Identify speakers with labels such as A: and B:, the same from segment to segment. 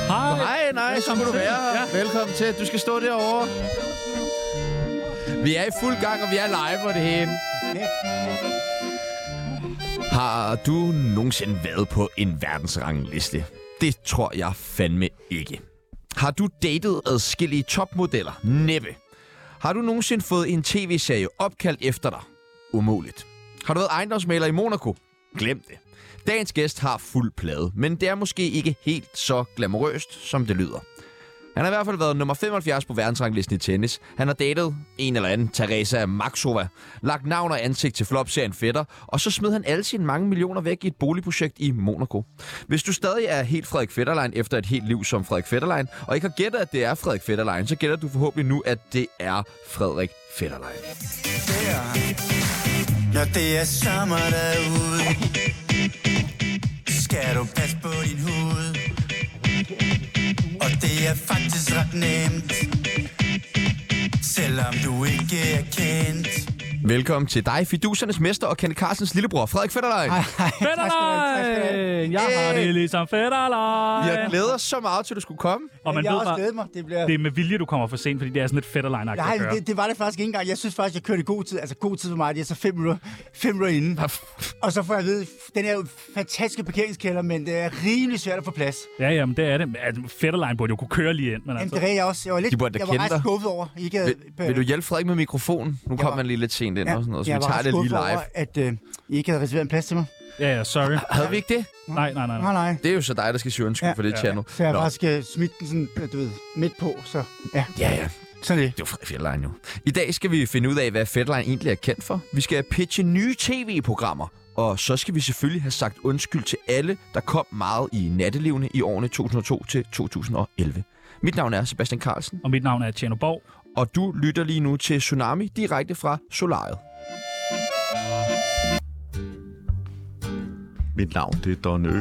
A: Hej.
B: Hej, nej, så
A: Velkommen
B: kunne du
A: til.
B: være her.
A: Ja.
B: Ja. Velkommen til. Du skal stå derovre. Vi er i fuld gang, og vi er live og det hele. Har du nogensinde været på en verdensrangliste? Det tror jeg fandme ikke. Har du datet adskillige topmodeller? Næppe. Har du nogensinde fået en tv-serie opkaldt efter dig? Umuligt. Har du været ejendomsmaler i Monaco? Glem det. Dagens gæst har fuld plade, men det er måske ikke helt så glamorøst, som det lyder. Han har i hvert fald været nummer 75 på verdensranglisten i tennis. Han har datet en eller anden, Teresa Maxova, lagt navn og ansigt til flopserien Fætter, og så smed han alle sine mange millioner væk i et boligprojekt i Monaco. Hvis du stadig er helt Frederik Fetterlein efter et helt liv som Frederik Fetterlein, og ikke har gættet, at det er Frederik Fetterlein, så gætter du forhåbentlig nu, at det er Frederik Fetterlein.
C: der Når det er sommer derude Skal du passe på din hud Og det er faktisk ret nemt Selvom du ikke er kendt
B: Velkommen til dig, Fidusernes Mester og Kenneth Carstens lillebror, Frederik Fetterlein. Hej.
A: Fætterlejen! Jeg har det ligesom
B: Jeg
A: Fætterlejen!
B: glæder os så meget til, at du skulle komme.
A: Og man
D: jeg har
A: ved
D: også
A: bare,
D: glædet mig. Det, bliver...
A: det
D: det...
A: er med vilje, du kommer for sent, fordi det er sådan et fætterlejen at
D: Nej,
A: gøre.
D: det, det, var det faktisk ikke engang. Jeg synes faktisk, jeg kørte i god tid. Altså god tid for mig, det er så fem minutter, fem minutter inden. Og så får jeg at vide, den her fantastiske parkeringskælder, men det er rimelig svært at få plads.
A: Ja, jamen, det er det. Men, Altså, fætterlejen burde jo kunne køre lige ind, men
D: Jamen,
A: altså...
D: det er jeg også. Jeg var lidt,
B: De burde da
D: jeg
B: kende
D: var ret
B: dig.
D: skuffet over. I Ikke,
B: Vil,
D: øh,
B: vil du hjælpe Frederik med mikrofonen? Nu kom
D: var-
B: han lige lidt sent ind og sådan noget, så
D: jeg
B: vi
D: var
B: tager
D: ret
B: det lige
D: skuffet
B: live.
D: Over, at øh, I ikke havde reserveret en plads til mig.
A: Ja, ja, sorry.
B: Havde vi ikke det?
A: Nej, nej, nej. nej.
D: Nej, nej.
B: Det er jo så dig, der skal sige undskyld
D: Ja.
B: for det
A: Ja.
B: channel.
D: Så jeg
B: Nå.
D: Nå. faktisk øh, smidte den sådan, øh, du ved, midt på. Så ja,
B: Ja, ja.
D: sådan
B: Det
D: det.
B: er jo Frederik Fetterlein jo. I dag skal vi finde ud af, hvad Fetterlein egentlig er kendt for. Vi skal pitche nye tv-programmer. Og så skal vi selvfølgelig have sagt undskyld til alle, der kom meget i nattelivene i årene 2002 til 2011. Mit navn er Sebastian Carlsen,
A: Og mit navn er Tjerno Borg.
B: og du lytter lige nu til Tsunami direkte fra Solariet.
E: Mit navn det er Don Ø.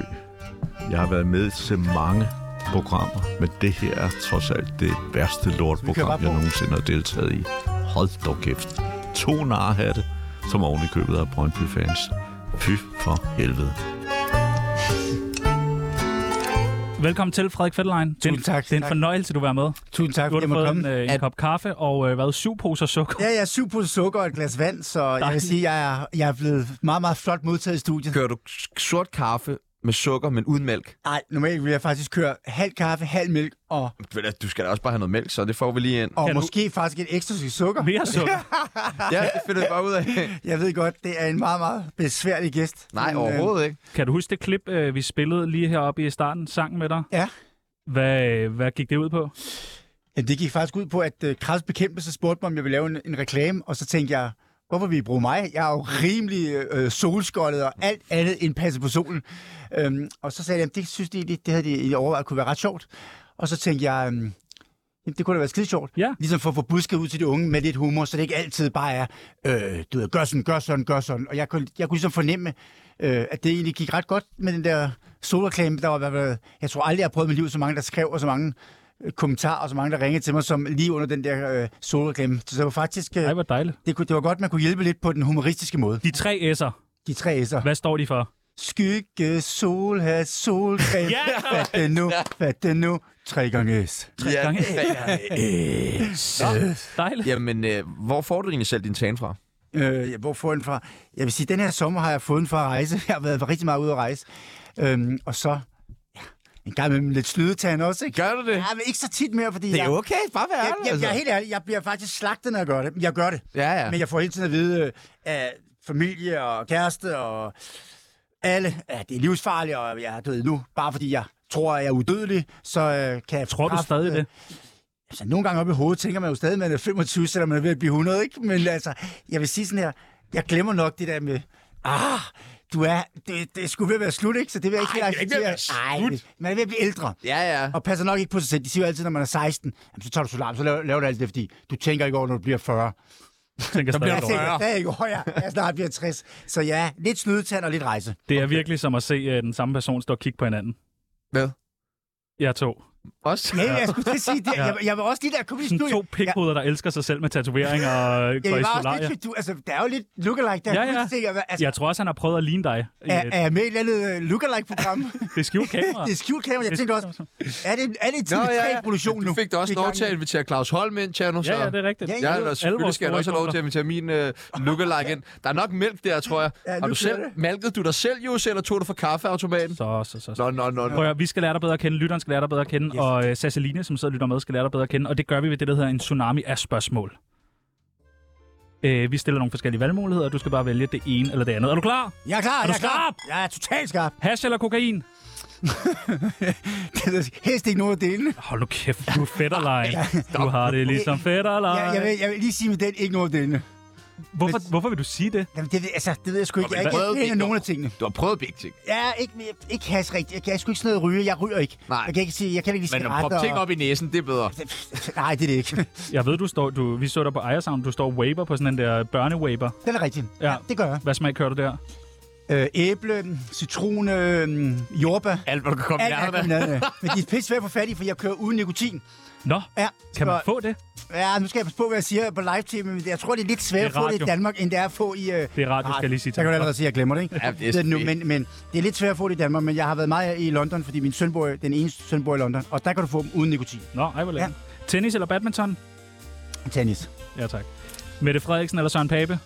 E: Jeg har været med til mange programmer, men det her er trods alt det værste
D: bare
E: lortprogram,
D: på.
E: jeg nogensinde har deltaget i. Hold dog kæft. To narhatte, som oven i købet af Brøndby-fans. Fy for helvede.
A: Velkommen til, Frederik Fætterlejen. Det er en-
D: Tusind tak.
A: Det er en
D: Tak.
A: fornøjelse, du er med.
D: Tusind tak,
A: Du
D: fordi
A: har
D: jeg
A: da fået
D: måtte komme.
A: en, øh, en
B: At-
A: kop kaffe og øh, hvad, syv poser sukker.
B: øh-
D: Ja, jeg er syv på sukker og et glas vand, så jeg vil
A: Dejligt.
D: sige, jeg er, jeg er blevet meget, meget flot modtaget i studiet.
B: Kører du s- sort kaffe med sukker, men uden mælk?
D: Nej, normalt vil jeg faktisk køre halv kaffe, halv mælk og,
B: Ved du, Du skal da også bare have noget mælk, så det får vi lige ind.
D: og
A: Kan du-
D: måske faktisk et ekstra stykke sukker.
A: Mere sukker.
B: Ja, det finder vi bare ud af.
D: Jeg ved godt, det er en meget, meget besværlig gæst.
B: Nej,
D: Men, øh,
B: overhovedet ikke.
A: Kan du huske det klip, øh, vi spillede lige heroppe i starten, sang med dig?
D: Ja.
A: Hvad, øh, hvad gik det ud på?
D: Ja, det gik faktisk ud på, at øh, Kravs Bekæmpelse spurgte mig, om jeg ville lave en, en reklame, og så tænkte jeg, hvorfor vil I bruge mig? Jeg er jo rimelig øh, solskoldet og alt andet end passet på solen. Øhm, og så sagde jeg, det synes de, egentlig- det havde de egentlig overvejet kunne være ret sjovt. Og så tænkte jeg, øhm, jamen, det kunne da være skide sjovt.
A: Ja.
D: Ligesom for at få busket ud til de unge med lidt humor, så det ikke altid bare er, øh, du ved, gør sådan, gør sådan, gør sådan. Og jeg kunne, jeg kunne ligesom fornemme, øh, at det egentlig gik ret godt med den der solreklame. Der var, i hvert fald- jeg tror aldrig, jeg har prøvet i mit liv så mange, der skrev, og så mange øh, kommentarer, og så mange, der ringede til mig, som lige under den der øh, solreklame. Så det var faktisk, øh,
A: Ej, hvor dejligt.
D: det, kunne, det var godt, man kunne hjælpe lidt på den humoristiske måde.
A: De tre S'er,
D: De tre S'er.
A: hvad står de for?
D: Skygge, sol, hat, solcreme.
A: Ja!
D: Fat det nu, fat det nu. Tre gange S.
A: Tre gange.
B: Øh,
A: Dejligt.
B: Jamen, øh, hvor får du egentlig selv din tan fra?
D: Øh, ja, hvor får jeg den fra? Jeg vil sige, den her sommer har jeg fået den fra at rejse. Jeg har været rigtig meget ude at rejse. Øhm, og så ja, en gang med lidt slydetand også, ikke?
B: Gør du det?
D: Ja, men ikke så tit mere, fordi
B: Det
D: jeg,
B: er okay, bare vær
D: jeg,
B: ærlig,
D: jeg, jeg, er
B: altså.
D: helt ærlig, jeg bliver faktisk slagtet, når jeg gør det. Jeg gør det,
B: Ja, ja.
D: men jeg får hele tiden at vide øh, af familie og kæreste og alle, at det er livsfarligt, og jeg er død nu. Bare fordi jeg tror, at jeg er udødelig, så øh, kan jeg...
A: Tror du stadig det?
D: Altså, nogle gange op i hovedet tænker man jo stadig, at man er 25, selvom man er ved at blive 100, ikke? Men altså, jeg vil sige sådan her, jeg glemmer nok det der med, ah, du er, det, det skulle ved at være slut, ikke? Så det vil jeg ikke Ej,
B: det er ikke ved at være
D: Nej, man er ved at blive ældre.
B: Ja, ja.
D: Og passer nok ikke på sig selv. De siger jo altid, når man er 16, jamen, så tager du solarm, så laver, laver du alt det, fordi du tænker ikke over, når du bliver 40.
A: Tænker
D: Jeg
A: stadig over.
D: tænker stadig ikke over, jeg, jeg snart bliver 60. Så ja, lidt snydetand og lidt rejse.
A: Det er virkelig som at se øh, den samme person stå og kigge på hinanden.
B: Hvad?
A: Jeg to.
B: Også?
D: Ja, jeg skulle til at sige det. Jeg, jeg var også lige der kom i
A: Sådan
D: studiet.
A: to pikhoveder, der elsker sig selv med tatoveringer og
D: Ja,
A: går
D: jeg
A: i
D: var også
A: solarier.
D: lidt, du, altså, der er jo lidt lookalike der.
A: Ja,
D: Jeg kunne
A: ja.
D: ikke se, hvad- Altså,
A: Jeg tror også, han har prøvet at ligne dig. i
D: er,
A: et-
D: er jeg med i et eller andet øh, lookalike-program?
A: Det er skjult kamera.
D: det er skjult kamera.
A: Det
D: Jeg
A: er
D: tænkte også,
A: skjult altså.
D: er det, er det en TV3 produktion nu?
B: Du fik da også
D: Vi er i
B: lov
D: gang
B: til at
D: med-
B: invitere Claus Holm ind, Tjerno.
A: Ja, ja, det er rigtigt.
D: Ja,
B: Ja,
D: Alle
B: eller
D: vores
B: selvfølgelig skal jeg da også have lov til at invitere min øh, lookalike ind. Der er nok mælk der, tror jeg.
D: Ja,
B: Har
D: nu
B: du
D: bliver
B: selv,
D: det.
B: malkede du dig selv, Jus, eller tog du fra kaffeautomaten?
A: Så, så, så. så.
B: Nå, nå, nå.
A: Prøv
B: nå.
A: at, høre, vi skal lære dig bedre at kende, lytteren skal lære dig bedre at kende, yes. og øh, Sasseline, som sidder og lytter med, skal lære dig bedre at kende, og det gør vi ved det, der hedder en tsunami af spørgsmål. Øh, vi stiller nogle forskellige valgmuligheder, og du skal bare vælge det ene eller det andet. Er du klar?
D: Jeg er klar,
A: Er
D: jeg
A: du
D: er klar.
A: skarp?
D: Jeg er totalt skarp.
A: Hash eller kokain?
D: Det er helst ikke noget at dele.
A: Hold nu kæft, du er fætterlejen. Du har det ligesom fætterlejen.
D: Jeg, jeg, vil, jeg vil lige sige med den, ikke noget at dele.
A: Hvorfor, hvorfor vil du sige det?
D: Jamen, det, ved- altså, det ved jeg sgu ikke. Jeg,
B: men
D: jeg,
B: hvad-
D: jeg, jeg, nogen af tingene.
B: Du har prøvet begge ting.
D: Ja, ikke, jeg- ikke has rigtigt. Jeg, kan- jeg skulle ikke sådan noget at ryge. Jeg ryger ikke.
B: Nej.
D: Jeg kan ikke sige, jeg kan ikke lide
B: Men at proppe ting op i næsen, det er bedre.
D: Nej, det er det ikke.
A: Jeg ved, du står, du, vi så dig på Ejersound, du står waber på sådan en der børnewaber.
D: Den er rigtig.
A: Ja.
D: det gør jeg.
A: Hvad smag kører du der?
D: Øh, æble, citron, øh, jordbær.
B: Alt, hvad du kan komme
D: Alt er
B: nærmere.
D: kombineret. af. Men de er pisse svært at få fat i, for jeg kører uden nikotin.
A: Nå,
D: Ja,
A: kan man
D: så-
A: få det?
D: Ja, nu skal jeg passe på, hvad jeg siger på live-tv, men jeg tror, det er lidt svært
A: Det
D: at
A: er
D: få det i
A: radio.
D: Danmark, end det er at få i... Øh,
A: Det er radio, skal jeg lige sige til
D: Jeg kan jo
A: dig.
D: allerede sige, at jeg glemmer det, ikke?
B: Ja, det er
D: Ved nu,
B: selvfølgelig.
D: men, men det er lidt svært at få det i Danmark, men jeg har været meget i London, fordi min søn bor, den eneste søn bor i London, og der kan du få dem uden nikotin.
A: Nå, ej, hvor lækkert. Tennis eller badminton?
D: Tennis.
A: Ja, tak. Mette Frederiksen eller Søren Pape?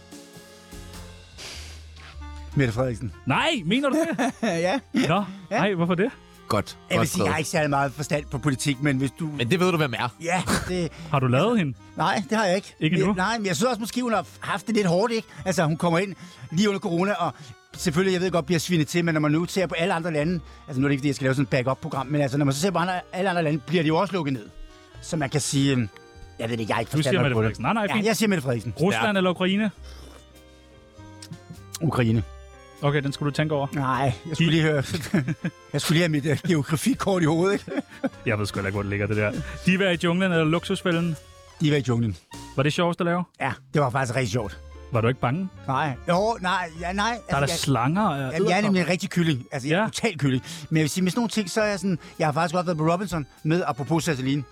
D: Mette Frederiksen.
A: Nej, mener du det?
D: ja.
A: Nå, nej, hvorfor det?
B: Godt.
D: Jeg vil
B: Godt
D: sige, jeg har ikke særlig meget forstand på politik, men hvis du...
B: Men det ved du, hvem er.
D: Ja, det...
A: Har du lavet hende?
D: Nej, det har jeg ikke.
A: Ikke
D: Men-
A: endnu?
D: Nej, men jeg synes også måske, hun har haft det lidt hårdt, ikke? Altså, hun kommer ind lige under corona, og selvfølgelig, jeg ved godt, bliver svinet til, men når man nu ser på alle andre lande, altså nu er det ikke, fordi jeg skal lave sådan et back-up-program, men altså, når man så ser på andre, alle andre lande, bliver de jo også lukket ned. Så man kan sige, øhm, jeg ved det ikke, jeg har ikke
A: Du siger
D: forstand nok
A: Mette
D: på det.
A: Frederiksen. Nej, nej,
D: Ja,
A: fint.
D: jeg siger Mette Frederiksen.
A: Rusland eller Ukraine?
D: Ukraine.
A: Okay, den skulle du tænke over.
D: Nej, jeg skulle lige høre... jeg skulle lige have mit uh, geografikort i hovedet, ikke?
A: Jeg ved sgu heller ikke, hvor det ligger, det der. De var i junglen eller luksusfælden.
D: De var i junglen.
A: Var det sjovest at lave?
D: Ja, det var faktisk rigtig sjovt.
A: Var du ikke bange?
D: Nej. Jo, nej, ja,
A: Der
D: nej.
A: er der
D: altså, jeg-
A: slanger. og
D: Jamen, jeg er
A: edderkopper.
D: nemlig en rigtig kylling. Altså, jeg er
A: Ja.
D: total kylling. Men jeg vil sige, med sådan nogle ting, så er jeg sådan... Jeg har faktisk godt været på Robinson med, apropos Sasseline.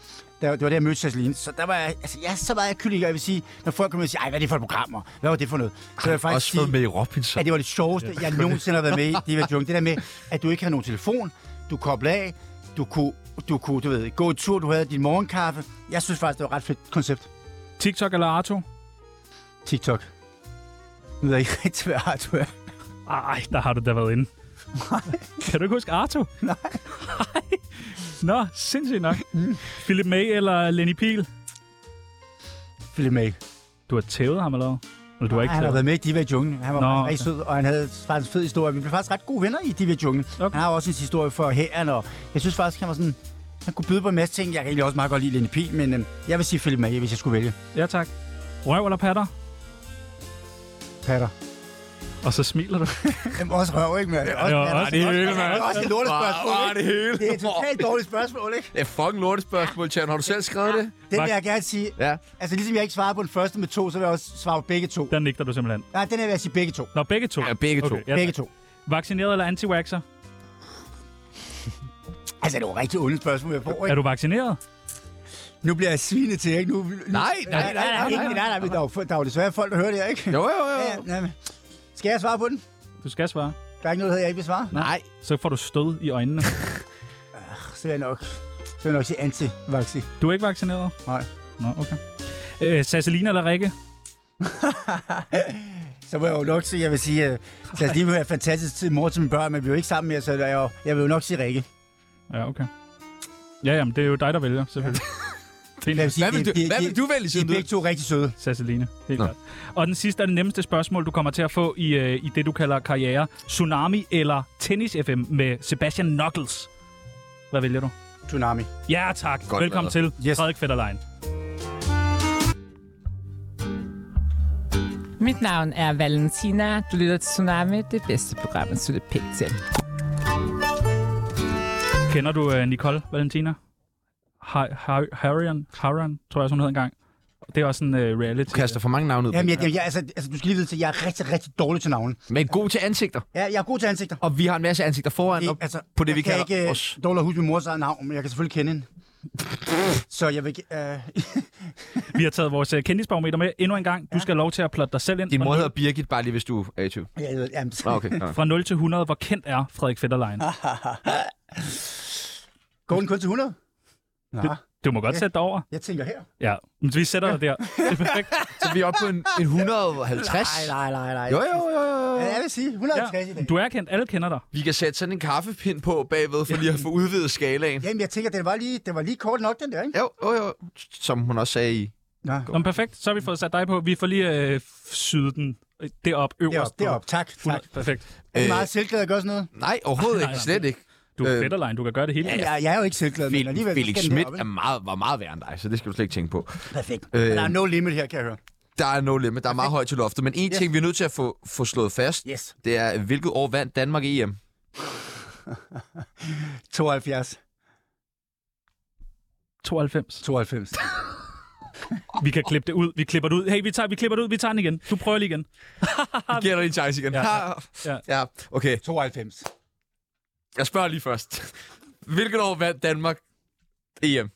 D: Der, det var der, jeg mødte Sasseline. Så der var jeg... Altså, jeg er så meget kylling, og jeg vil sige, når folk kommer og siger, ej, hvad er det for et program, og hvad var det for noget? Så vil jeg faktisk
E: Også været
D: sige,
E: med i Robinson.
D: at det var det sjoveste, jeg nogensinde har været med i. Det var junk. Det der med, at du ikke havde nogen telefon, du koblede af, du kunne, du kunne du ved, gå en tur, du havde din morgenkaffe. Jeg synes faktisk, det var et ret fedt koncept.
A: TikTok eller Arto?
D: TikTok. Nu ved jeg ikke rigtig, hvad Arthur er.
A: Ej, der har du da været inde. kan du ikke huske Arto? Nej. Nå, sindssygt nok. Philip May eller Lenny Pihl?
D: Philip May.
A: Du har tævet ham eller hvad? Eller du har ikke
D: han har
A: tævet?
D: været med i Diva i Junglen. Han var
A: Nå,
D: Nå, rigtig sød, og han havde faktisk en fed historie. Vi blev faktisk ret gode venner i Diva i Junglen.
A: Okay.
D: Okay. Han har også en historie for herren, og jeg synes faktisk, han var sådan... Han kunne byde på en masse ting. Jeg kan egentlig også meget godt lide Lenny Pihl, men øhm, jeg vil sige Philip May, hvis jeg skulle vælge.
A: Ja, tak. Røv eller patter?
D: Patter.
A: Og så smiler du.
D: Jamen, også røv, ikke? Men det er også,
A: jo,
D: patter.
A: ej, det er hele,
D: altså,
A: mand.
D: det er også et lortet spørgsmål,
B: Åh,
D: ikke?
B: det hele.
D: Det er et totalt dårligt spørgsmål, ikke?
B: Det er fucking lortet spørgsmål, Tjerno. Har du selv skrevet det?
D: Den vil
A: Mark-
D: jeg gerne sige.
B: Ja.
D: Altså, ligesom jeg ikke svarede på den første med to, så vil jeg også svare på begge to.
A: Der nikker du simpelthen.
D: Nej, den her vil jeg sige begge to.
A: Nå, begge to.
B: Ja, begge to.
A: Okay, ja,
D: Begge
A: tak.
D: to.
A: Vaccineret eller anti-vaxxer?
D: Altså, det var et rigtig ondt spørgsmål, jeg får,
A: Er
D: ikke?
A: du vaccineret?
D: Nu bliver jeg svinet til, ikke? Nu, nu,
B: Nej, nej,
D: Nej, nej, nej, nej, nej, nej, nej, men der er jo- der er jo desværre folk, der hører det her, ikke?
B: Jo, jo, jo.
D: Ja, ja, men- Skal jeg svare på den?
A: Du skal svare.
D: Der er ikke noget, jeg ikke vil svare.
B: Nej.
A: Så får du stød i øjnene.
D: Så vil jeg nok, så vil jeg nok sige anti-vaxi.
A: Du er ikke vaccineret?
D: Nej.
A: Nå, okay. Øh, Sasselina eller Rikke?
D: Så vil jeg jo nok sige, jeg vil sige, øh, så lige vil have fantastisk tid mor til mine børn, men vi er jo ikke sammen mere, så der er jo, jeg vil jo nok sige Rikke.
A: Ja, okay. Ja, jamen, det er jo dig, der vælger, selvfølgelig.
D: Jeg
A: Fint.
D: sige,
B: Hvad vil
D: de-
B: du,
D: de-
B: hvad
D: de-
B: vil du vælge,
D: De er
B: siden du
D: begge to rigtig søde.
A: Sasseline, helt
B: Nå.
A: klart. Og den sidste er det nemmeste spørgsmål, du kommer til at få i, øh, i det, du kalder karriere. Tsunami eller Tennis FM med Sebastian Knuckles? Hvad vælger du?
D: Tsunami.
A: Ja, tak.
B: Godt
A: Godt Velkommen
B: lavet.
A: til
D: Yes.
A: yes. Frederik Fetterlein.
F: Mit navn er Valentina. Du lytter til Tsunami, det bedste program, at slutte pænt til.
A: Kender du øh, Nicole Valentina? Har- Har- Harrion, Harrion, tror jeg, også, hun hed engang. Det er også en øh, reality.
B: kaster for mange navne ud.
D: Jamen, jeg, jeg, jeg, altså, altså, du skal lige vide, at jeg er rigtig, rigtig dårlig til navnen.
B: Men god til ansigter.
D: Ja, jeg er god til ansigter.
B: Og vi har en masse ansigter foran op
D: altså,
B: på det,
D: jeg
B: vi
D: kan
B: kalder
D: ikke øh,
B: os.
D: dårligt huske min mors eget navn, men jeg kan selvfølgelig kende hende. Så jeg vil... ge- Øh,
A: Vi har taget vores øh, kendisbarometer med endnu en gang. Du skal have lov til at plotte dig selv ind.
B: Din
A: fra
B: mor
A: nul-
B: hedder Birgit, bare lige hvis du er i tvivl.
D: jeg ved, jamen, så,
B: Nå, okay. Nå.
A: Fra 0 til 100, hvor kendt er Frederik Fetterlein?
D: Går den kun til 100? Nå,
A: Du må godt sætte dig over.
D: jeg tænker her.
A: Ja, men vi sætter dig der. Det er perfekt.
B: Så vi er oppe på en, en 150.
D: Nej, nej, nej, nej.
B: Jo, jo, jo, jo,
D: Ja,
B: jo.
D: Jeg vil sige 150 i dag.
A: Ja, du er kendt. Alle kender dig.
B: Vi kan sætte sådan en kaffepind på bagved, for lige at få udvidet skalaen.
D: Jamen, jeg tænker, den var lige, den var lige kort nok, den der, ikke?
B: Jo, jo, jo. Som hun også sagde i...
D: Nå,
A: Nå, men perfekt. Så har vi fået sat dig på. Vi får lige øh, syde den øh, derop, øverst.
D: derop,
A: på-
D: derop. Tak, tak.
A: 100. Perfekt.
D: Er
B: Øh,
D: I meget selvglad at gøre sådan noget?
B: Nej,
A: Nej,
B: overhovedet ikke.
A: nej.
B: Slet ikke.
A: Du er
B: Øh,
A: øh, Fetterlein. Du kan gøre det hele.
D: Ja, jeg, jeg er jo ikke selvglad, men alligevel...
B: Felix
D: skal den
B: Schmidt
D: derop,
B: er meget, var meget værre end dig, så det skal du slet ikke tænke på.
D: ikke? Perfekt.
B: Øh,
D: Men Der er no limit her, kan jeg høre.
B: Der er no limit. Der er meget højt til loftet. Men en
D: Yes.
B: ting, vi er nødt til at få, få slået fast,
D: Yes.
B: det er, hvilket år vandt Danmark E EM?
D: 72.
A: 92.
D: 92.
A: Vi kan klippe det ud. Vi klipper det ud. Hey, vi, tager, vi klipper det ud. Vi tager den igen. Du prøver lige igen.
B: Vi giver dig en chance igen.
A: Ja.
B: Ja.
A: Ja.
B: ja. Okay,
D: 92.
B: jeg spørger lige først. Hvilket år vandt Danmark E EM?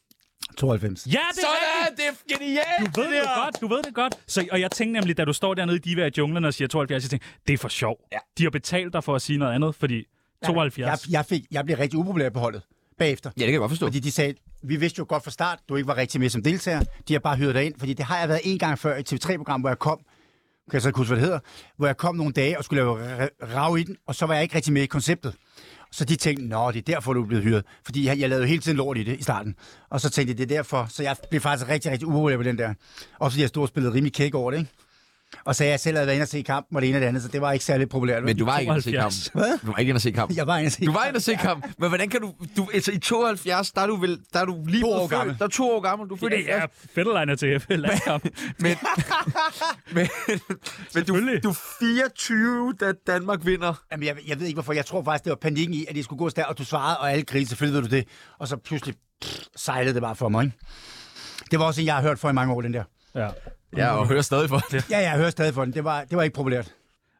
D: 92.
A: Ja, det er rigtigt!
B: Sådan! Det er genialt!
A: Du ved det godt, du ved det godt. Så, og jeg tænkte nemlig, da du står dernede i Diva i junglen og siger 72, jeg tænkte, det er for sjov.
B: Ja.
A: De har betalt dig for at sige noget andet, fordi 72.
D: Jeg, jeg, fik, jeg blev rigtig upopulær på holdet bagefter.
B: Ja, det kan jeg godt forstå.
D: Fordi de sagde, vi vidste jo godt fra start, du ikke var rigtig med som deltager. De har bare hyret dig ind, fordi det har jeg været en gang før i et TV3-program, hvor jeg kom, kan jeg så ikke huske, hvad det hedder, hvor jeg kom nogle dage og skulle lave ra- rav i den, og så var jeg ikke rigtig med i konceptet. Så de tænkte, nå, det er derfor, du er blevet hyret. Fordi jeg, jeg lavede jo hele tiden lort i det i starten. Og så tænkte jeg, det er derfor. Så jeg blev faktisk rigtig, rigtig upopulær på den der. Også fordi jeg stod og spillede rimelig kæk over det, ikke? Og så jeg selv havde været inde og se kampen, og det ene og det andet, så det var ikke særlig populært.
B: Men du var ikke inde at
A: 72.
B: se kampen. Du var ikke inde at se kampen.
D: Jeg var inde og se
B: Du var inde at se kampen, men hvordan kan du... du altså, i 72, der er du, vel, der er du lige
D: To
B: blevet
D: år
B: født.
D: gammel.
B: Der er to år gammel. Du er født i
A: Ja, ja, Fetterlein er til FL landskamp.
B: Men, men, men du,
A: Selvfølgelig.
B: du er 24, da Danmark vinder.
D: Jamen, jeg, jeg ved ikke hvorfor. Jeg tror faktisk, det var panikken i, at det skulle gå stærkt, og du svarede, og alle grinede, selvfølgelig ved du det. Og så pludselig pff, sejlede det bare for mig, ikke? Det var også en, jeg har hørt for i mange år, den der.
A: Ja.
B: Ja, og hører stadig for det.
D: Ja, jeg hører stadig for den. Det var, det var ikke populært.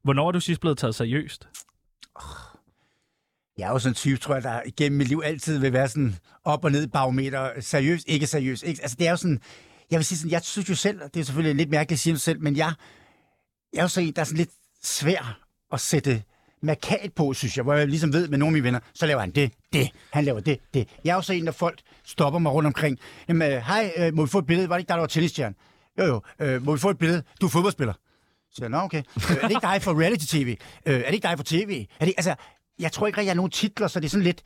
A: Hvornår er du sidst blevet taget seriøst?
D: Jeg er jo sådan en type, tror jeg, der igennem mit liv altid vil være sådan op og ned barometer. Seriøst, ikke seriøst. Ikke? Altså, det er jo sådan... Jeg vil sige sådan, jeg synes jo selv, og det er selvfølgelig lidt mærkeligt at sige om selv, men jeg, jeg er jo sådan en, der er sådan lidt svær at sætte markat på, synes jeg, hvor jeg ligesom ved med nogle af mine venner, så laver han det, det, han laver det, det. Jeg er jo så en, der folk stopper mig rundt omkring. Jamen, øh, hej, øh, må vi få et billede? Var det ikke dig, der var tennisstjerne? Jo, jo, øh, må vi få et billede? Du er fodboldspiller. Så siger jeg, nå, okay. Øh, er det ikke dig for reality-tv? Øh, er det ikke dig for tv? Er det, altså, jeg tror ikke rigtig, jeg har nogen titler, så det er sådan lidt...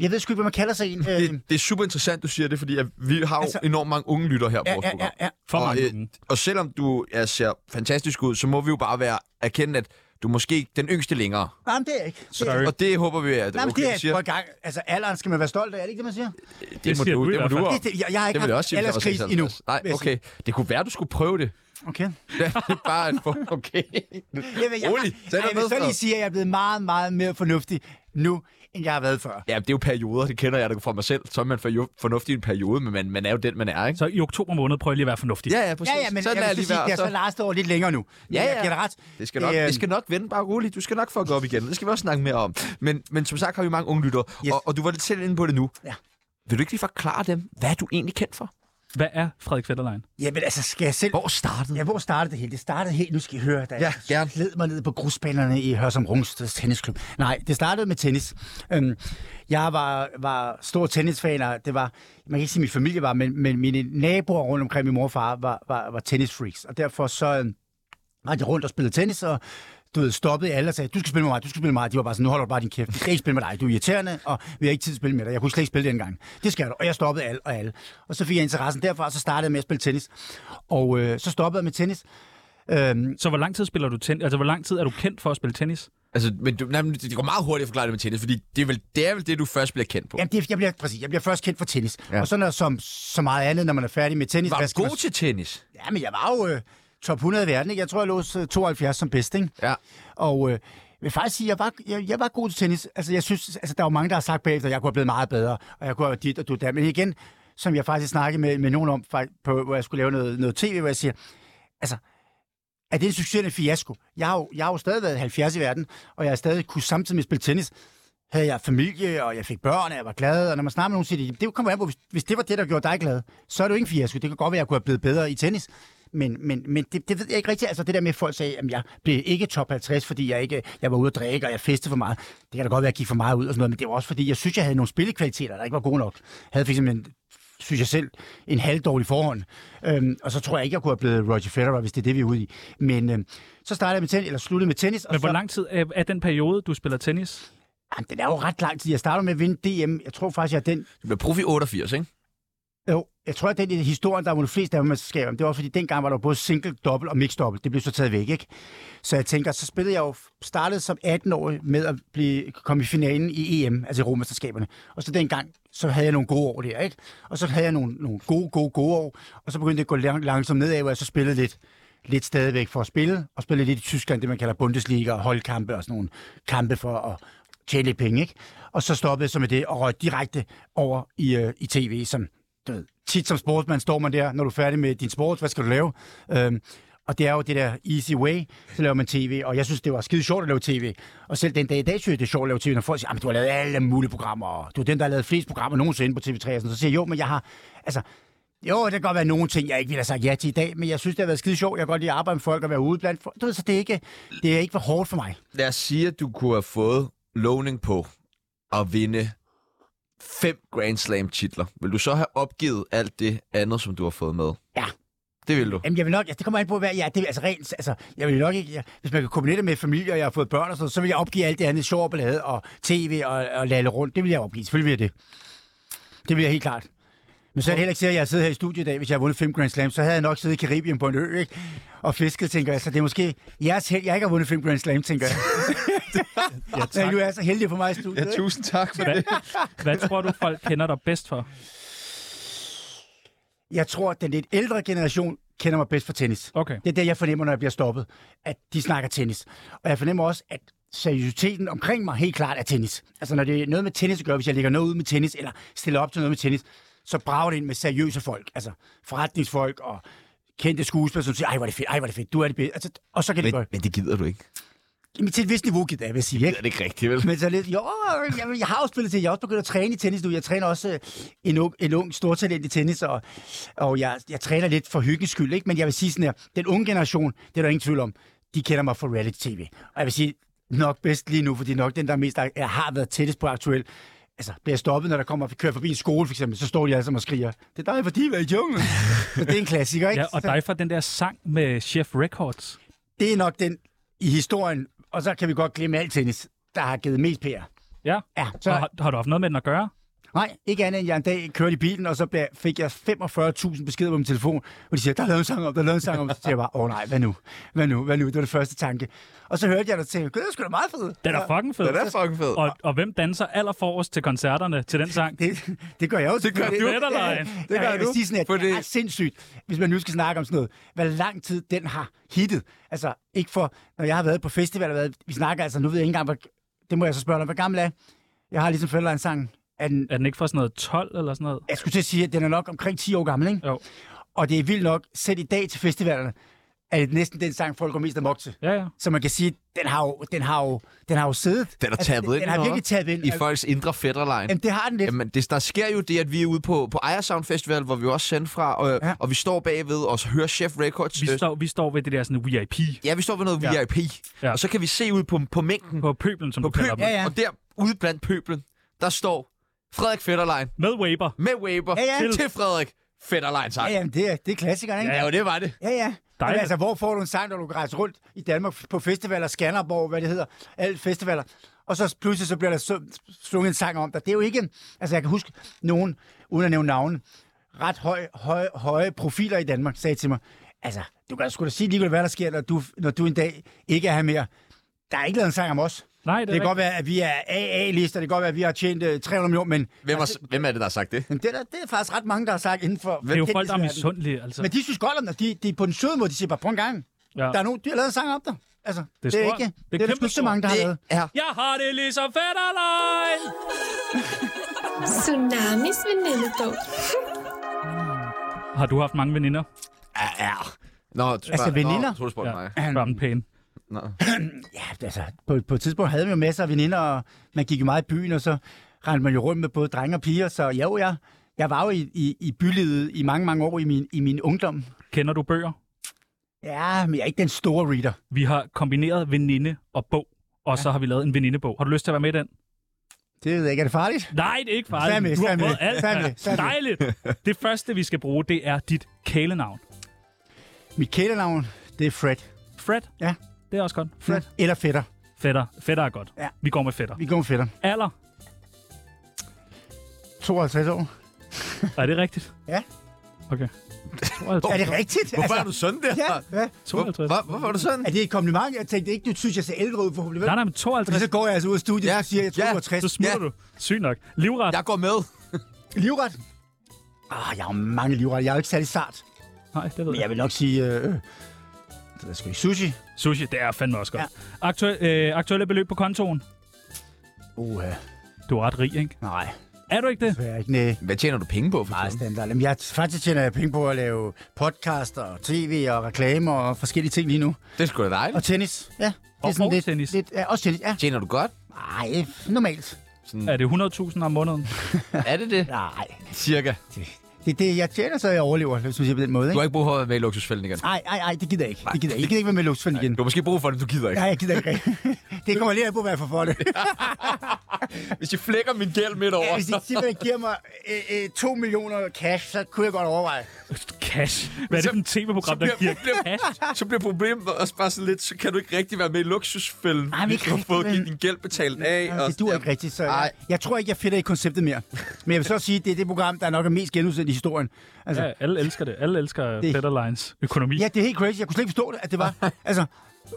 D: Jeg ved sgu ikke, hvad man kalder sig en. Øh,
B: det. Det er super interessant, du siger det, fordi at vi har jo altså,
D: Altså-
B: enormt mange unge lytter her på
D: ja,
B: vores
D: ja,
B: program.
D: ja, ja.
A: For
B: og,
A: mange unge.
B: og selvom du ja, ser fantastisk ud, så må vi jo bare være erkende, at du er måske ikke den yngste længere.
D: Nej, men det er jeg ikke. Det er-
A: Sorry.
B: Og det håber vi, at det
D: Nej,
B: er
D: men
B: okay,
D: det
B: du
D: er,
B: siger.
D: prøv en gang, altså alderen skal man være stolt af, er det ikke det, man siger?
B: Det må
A: siger
B: du,
A: du i
B: det må
A: hvert
B: du
A: fald.
B: også.
D: Det, det, jeg, jeg har
B: Det
D: ikke
B: vil jeg også sige, hvis jeg var
D: alderskris endnu.
B: 56. Nej,
D: vil jeg
B: okay. Det kunne være, du skulle prøve det.
D: sige. Okay.
B: Det er bare en form. Okay.
D: Jeg vil, jeg,
B: Rolig. Tag
D: Ej,
B: dig
D: jeg vil
B: ned,
D: så
B: Frederik.
D: lige sige, at jeg er blevet meget, meget mere fornuftig nu, end jeg har været før.
B: Ja, det er jo perioder, det kender jeg da fra mig selv. Så er man for- fornuftig i en periode, men man, man er jo den, man er, ikke?
A: Så i oktober måned prøver jeg lige at være fornuftig.
B: Ja, ja, præcis.
D: Ja, ja, men
B: Sådan
D: jeg
B: er
D: vil så sige, at jeg
B: så-
D: så last over lidt længere nu. Men
B: Ja,
D: jeg
B: ja.
D: giver dig ret.
B: Det skal, nok,
D: Øhm,
B: det skal nok vende, bare roligt. Du skal nok fucke op igen. Det skal vi også snakke mere om. Men, men som sagt har vi mange unge lyttere, yes.
D: Yes.
B: og, og du var lidt selv inde på det nu.
D: Ja.
B: Vil du ikke lige forklare dem, hvad er du egentlig kendt for?
A: Hvad er Frederik Fetterlein?
D: Jamen altså, skal jeg selv...
B: Hvor startede
D: Ja, hvor startede det hele? Det startede helt, nu skal I høre, da
B: Ja, gerne.
D: jeg led mig ned på grusbanerne i Hørsum Rungsteds Tennisklub. Nej, det startede med tennis. Øhm, jeg var, var stor tennisfan, og det var, man kan ikke sige, at min familie var, men, men mine naboer rundt omkring, min mor og far, var, var, var tennisfreaks. Og derfor så øhm, rendte jeg rundt og spillede tennis, og du ved, stoppede alle og sagde, du skal spille med mig, du skal spille med mig. De var bare sådan, nu holder du bare din kæft, vi skal ikke spille med dig, du er irriterende, og vi har ikke tid til at spille med dig. Jeg kunne slet ikke spille dengang. Det skal du. Og jeg stoppede alle og alle. Og så fik jeg interessen derfra, og så startede jeg med at spille tennis. Og øh, så stoppede jeg med tennis. Øhm,
A: Så hvor lang tid spiller du tennis? Altså, hvor lang tid er du kendt for at spille tennis?
B: Altså, men du, nej, men det går meget hurtigt at forklare det med tennis, fordi det er vel det, er vel det du først bliver kendt på.
D: jamen, det, jeg, bliver, præcis, jeg bliver først kendt for tennis.
B: Ja.
D: Ja. Og så når, som så meget andet, når man er færdig med tennis.
B: var
D: hvad
B: du
D: skal
B: god
D: man-
B: til tennis?
D: Ja, men jeg var jo øh, top 100 i verden. Ikke? Jeg tror, jeg lå øh, 72 som bedst. Ikke?
B: Ja.
D: Og øh, jeg vil faktisk sige, jeg var, jeg, jeg var god til tennis. Altså, jeg synes, altså, der er jo mange, der har sagt bagefter, at jeg kunne have blevet meget bedre, og jeg kunne have dit og du der. Men igen, som jeg faktisk snakkede med, med nogen om, fakt- på, hvor jeg skulle lave noget, noget tv, hvor jeg siger, altså, er det en succes eller en fiasko? Jeg har, jo, jeg har jo stadig været 70 i verden, og jeg har stadig kunne samtidig med spille tennis. havde jeg familie, og jeg fik børn, og jeg var glad. Og når man snakker med nogen, siger de, "Jamen, det kommer an på, hvis, hvis det var det, der gjorde dig glad, så er du ikke en fiasko. Det kan godt være, at jeg kunne have blevet bedre i tennis. Men, men, men det, det, ved jeg ikke rigtigt. Altså det der med, at folk sagde, at jeg blev ikke top 50, fordi jeg, ikke, jeg var ude at drikke, og jeg festede for meget. Det kan da godt være, at jeg gik for meget ud og sådan noget, men det var også fordi, jeg synes, jeg havde nogle spillekvaliteter, der ikke var gode nok. Jeg havde fx en synes jeg selv, en halvdårlig forhånd. Øhm, og så tror jeg ikke, jeg kunne have blevet Roger Federer, hvis det er det, vi er ude i. Men øhm, så startede jeg med tennis, eller sluttede med tennis.
A: Men
D: og
A: hvor
D: så,
A: lang tid er, er den periode, du spiller tennis?
D: Jamen, den er jo ret lang tid. Jeg starter med at vinde DM. Jeg tror faktisk, jeg er den...
B: Du bliver prof i 88, ikke?
D: Jo, jeg tror, at den i historien, der har vundet flest Danmarksmesterskaber, men det var fordi, dengang var der jo både single, dobbelt og mixed dobbelt. Det blev så taget væk, ikke? Så jeg tænker, så spillede jeg jo, startede som 18-årig med at blive, komme i finalen i EM, altså i Romesterskaberne. Og så dengang, så havde jeg nogle gode år der, ikke? Og så havde jeg nogle, nogle gode, gode, gode år, og så begyndte det at gå lang, langsomt nedad, hvor jeg så spillede lidt lidt stadigvæk for at spille, og spille lidt i Tyskland, det man kalder Bundesliga og holdkampe og sådan nogle kampe for at, tjene lidt penge, ikke? Og så stoppede jeg så med det og røg direkte over i, øh, i tv, som du ved, tit som sportsmand står man der, når du er færdig med din sport, hvad skal du lave? Øhm, og det er jo det der easy way, så laver man tv, og jeg synes, det var skide sjovt at lave tv. Og selv den dag i dag synes jeg, det er sjovt at lave tv, når folk siger, at du har lavet alle mulige programmer, og du er den, der har lavet flest programmer nogensinde på TV3, og sådan, så siger jeg, jo, men jeg har, altså, jo, det kan godt være nogle ting, jeg ikke ville have sagt ja til i dag, men jeg synes, det har været skide sjovt. Jeg kan godt lide at arbejde med folk og være ude blandt folk. Du ved, så det er ikke, det er ikke for hårdt for mig.
B: Lad os sige, at du kunne have fået lovning på at vinde fem Grand Slam titler. Vil du så have opgivet alt det andet, som du har fået med?
D: Ja.
B: Det vil du.
D: Jamen, jeg vil nok, altså, det kommer an på, hvad jeg, det, er altså rent, altså, jeg vil nok ikke, jeg, hvis man kan kombinere det med familie, og jeg har fået børn og sådan noget, så vil jeg opgive alt det andet sjov og ballade, og tv og, og lalle rundt, det vil jeg opgive, selvfølgelig vil jeg det. Det vil jeg helt klart. Men så er det heller ikke sikkert, at jeg sidder her i studiet i dag, hvis jeg har vundet fem Grand Slam, så havde jeg nok siddet i Karibien på en ø, ikke? Og fisket, tænker jeg, så det er måske jeres held, jeg ikke har vundet fem Grand Slam, tænker jeg. ja, tak. Men du er så heldig for mig i studiet. ikke?
B: tusind tak for
A: Hvad, hvad tror du, folk kender dig bedst for?
D: Jeg tror, at den lidt ældre generation kender mig bedst for tennis.
A: Okay.
D: Det er det, jeg fornemmer, når jeg bliver stoppet, at de snakker tennis. Og jeg fornemmer også, at seriøsiteten omkring mig helt klart er tennis. Altså når det er noget med tennis at gøre, hvis jeg lægger noget ud med tennis, eller stiller op til noget med tennis, så brager det ind med seriøse folk, altså forretningsfolk og kendte skuespillere, som siger, ej, hvor er det fedt, ej, hvor er det fedt, du er det bedste. Altså, og så kan det
B: Men,
D: gøre.
B: men det gider du ikke.
D: Men til et vist niveau, gider jeg, vil jeg sige, ikke?
B: Det er det ikke rigtigt, vel?
D: Men så lidt, jo, jeg, jeg har jo spillet til, jeg har også begyndt at træne i tennis nu. Jeg træner også øh, en ung, en ung stortalent i tennis, og, og jeg, jeg træner lidt for hyggens skyld, ikke? Men jeg vil sige sådan her, den unge generation, det er der ingen tvivl om, de kender mig fra reality-tv. Og jeg vil sige, nok bedst lige nu, fordi nok den, der er mest, jeg har været tættest på aktuel, Altså, bliver jeg stoppet, når der kommer, kører forbi en skole, for eksempel, så står de alle sammen og skriger, det er dig, fordi vi er i junglen. Men det er en klassiker, ikke?
A: Ja, og
D: Så-
A: dig for den der sang med Chef Records.
D: det er nok den i historien, og så kan vi godt glemme alt tennis, der har givet mest PR.
A: Ja.
D: Ja,
A: Så... Har, har du haft noget med den at gøre?
D: Nej, ikke andet end jeg en dag kørte i bilen, og så blev- fik jeg 45.000 beskeder på min telefon, hvor de siger, der er lavet en sang om, der er lavet en sang om. Så siger jeg bare, åh nej, hvad nu? Hvad nu? Hvad nu? Det var det første tanke. Og så hørte jeg dig tænke, gud, det er sgu da meget fedt.
A: Den er fucking fed.
B: Den er fucking fed.
A: Og, og hvem danser allerforrest til koncerterne til den sang?
D: Det, det gør jeg også. Det gør
A: du. Fætterlejen.
D: Det gør jeg
B: du.
D: vil sige sådan, at
B: Fordi-
D: det er ret sindssygt, hvis man nu skal snakke om sådan noget, hvor lang tid den har hittet. Altså, ikke for, når jeg har været på festival, og været, vi snakker altså, nu ved jeg ikke engang, hvor, det må jeg så spørge dig, om, hvor gammel er jeg har ligesom Federline sang. Er den,
A: Er den ikke fra sådan noget 12 eller sådan noget?
D: jeg skulle til at sige, at den er nok omkring 10 år gammel, ikke?
A: Jo.
D: Og det er vildt nok, selv i dag til festivalerne, er det næsten den sang, folk går mest amok til.
A: Ja, ja.
D: Så man kan sige, den har jo, den har jo, den har jo siddet.
B: Den er tappet
D: den,
B: ind,
D: Altså, Den har
B: hva'?
D: virkelig tappet ind.
B: I folks indre fætterlejen.
D: Jamen, det har den lidt.
B: Jamen, det, der sker jo det, at vi er ude på, på Ejersound Festival, hvor vi også sender fra, og, ja.
D: Ja.
B: og vi står bagved og så hører Chef Records.
A: Vi
B: øh,
A: står, vi står ved det der sådan VIP
B: Ja, vi står ved noget
D: Ja.
B: VIP,
A: Ja.
B: og så kan vi se ud på, på mængden, på,
A: på pøblen, som
B: på
A: du kalder
B: pøblen,
A: dem.
D: Ja, ja.
B: og der ude blandt pøblen, der står Frederik Fetterlein
A: Med Weber.
B: med Weber
D: Ja, ja.
B: Til, til Frederik Fetterlein sang.
D: Ja, jamen, det er, det er klassikeren, ikke?
B: Ja, jo, det var det.
D: Ja, ja.
A: Dejligt.
D: Jamen, altså, hvor får du en sang, når du kan rejse rundt i Danmark på festivaler, Skanderborg, hvad det hedder, alle festivaler, og så pludselig så bliver der su- sunget en sang om dig. Det er jo ikke, en- altså jeg kan huske nogen, uden at nævne navne, ret høj, høj, høje profiler i Danmark sagde til mig, altså, du kan sgu da sige ligegyldigt, hvad der sker, når du, når du en dag ikke er her mere. Der er ikke lavet en sang om os.
A: Nej, det er
D: Det
A: rigtigt.
D: kan godt være, at vi er AA-lister, det kan godt være, at vi har tjent øh, 300 millioner, men,
B: Hvem, er, hvem er det, der har sagt det?
D: men det, er, der- det er faktisk ret mange, der har sagt inden for...
A: Det er jo folk, der er misundelige, altså.
D: Men de synes godt om dig. De, de er på den søde måde. De siger bare, prøv en gang.
A: Ja.
D: Ja. Der er nogen, de har lavet en sang om dig. Altså,
A: er
D: det er,
A: stort. Det
D: ikke,
A: er
D: det er, det er
A: kæmpe
D: sgu ikke så mange, der har lavet.
B: er
A: Jeg har det ligesom Fetterlein!
G: Tsunamis venindebog.
A: Har du haft mange veninder?
B: Ja, ja. Nå, du spørger-
D: Altså, veninder? Altså-
B: Nå, du spurgte mig.
A: Spørg dem pæne.
B: Nej.
D: Ja, altså, på, på et tidspunkt havde vi jo masser af veninder, og man gik jo meget i byen, og så rendte man jo rundt med både drenge og piger, så jo, jeg, jeg var jo i, i, i bylivet i mange, mange år i min, i min ungdom.
A: Kender du bøger?
D: Ja, men jeg er ikke den store reader.
A: Vi har kombineret veninde og bog, og ja. så har vi lavet en venindebog. Har du lyst til at være med i den?
D: Det ved jeg ikke, er det farligt?
A: Nej, det er ikke farligt.
D: Tag med,
A: du har
D: tag med,
A: prøvet alt.
D: tag med, tag med.
A: Dejligt. Det første, vi skal bruge, det er dit kælenavn.
D: Mit kælenavn, det er Fred.
A: Fred.
D: Ja.
A: Det er også godt. Fred. Ja.
D: Eller fætter.
A: Fætter. Fætter er godt.
D: Ja.
A: Vi går med fætter.
D: Vi går med fætter.
A: Alder.
D: 52 år.
A: Er det rigtigt?
D: Ja.
A: Okay.
D: Er
A: 52.
D: det rigtigt?
B: Hvorfor er du sådan der?
D: Ja, ja.
A: 52.
B: Hvor, hvorfor er du sådan?
D: Er det et kompliment? Jeg tænkte ikke, du synes, jeg ser ældre ud forhåbentlig. vel?
A: Nej, nej, men
D: Fordi
A: 52.
D: så går jeg altså ud af studiet
B: Ja,
D: og siger, at jeg
B: ja.
D: er 62.
A: Så smutter
B: Ja.
A: du. Sygt nok. Livret.
B: Jeg går med.
D: Livret? Ah, jeg har jo mange livret. Jeg er jo ikke særlig sart.
A: Nej, det ved
D: Men
A: jeg.
D: jeg vil nok sige... Øh, øh, det er sgu ikke sushi.
A: Sushi, det er fandme også godt. Aktuel, øh, aktuelle beløb på kontoen.
D: Uh,
A: Du er ret rig, ikke?
D: nej,
A: Er du ikke det?
D: det er ikke næ.
B: Hvad tjener du penge på for
D: Nej,
B: tiden?
D: standard. Jamen, jeg, faktisk tjener jeg penge på at lave podcaster og tv og reklamer og forskellige ting lige nu.
B: Det er sgu da dejligt.
D: Og tennis, ja. Det
A: Og- og
D: lidt,
A: tennis.
D: Lidt, ja, også tennis, ja.
B: Tjener du godt?
D: Nej, normalt.
A: Er det 100.000 om måneden?
B: Er det det?
D: Nej,
B: Cirka.
D: det er det, jeg tjener, så jeg overlever, hvis man siger på den måde,
B: Du
D: ikke?
B: har ikke brug for at være med i luksusfælden igen.
D: Nej, nej, nej, det gider jeg ikke.
B: Nej.
D: Det gider jeg ikke. Jeg gider ikke være med i luksusfælden igen.
B: Du har måske brug for det, du gider ikke.
D: Nej, jeg gider ikke. det kommer lige an på, hvad jeg får for det.
B: Hvis jeg flækker min gæld midt over.
D: Ja, hvis de simpelthen giver mig øh, øh, 2 millioner cash, så kunne jeg godt overveje.
A: Cash. Hvad er det for et
B: så
A: tv-program, der giver
B: bliver- bliver-
A: cash?
B: så bliver problemet også bare sådan lidt, så kan du ikke rigtig være med i luksusfælden.
D: Ej, men
B: hvis
D: ikke
B: du har
D: rigtig,
B: fået
D: men-
B: din gæld betalt af.
D: Jamen, det duer ikke rigtigt, så jeg,
B: Ej.
D: jeg tror ikke, jeg finder i konceptet mere. Men jeg vil så sige, det er det program, der er nok er mest genudsendt i historien. Altså, ja.
A: Ja, alle elsker det. Alle elsker
D: Det-
A: Fetterlines økonomi.
D: ja, det er helt crazy. Jeg kunne slet ikke forstå det, at det var... altså,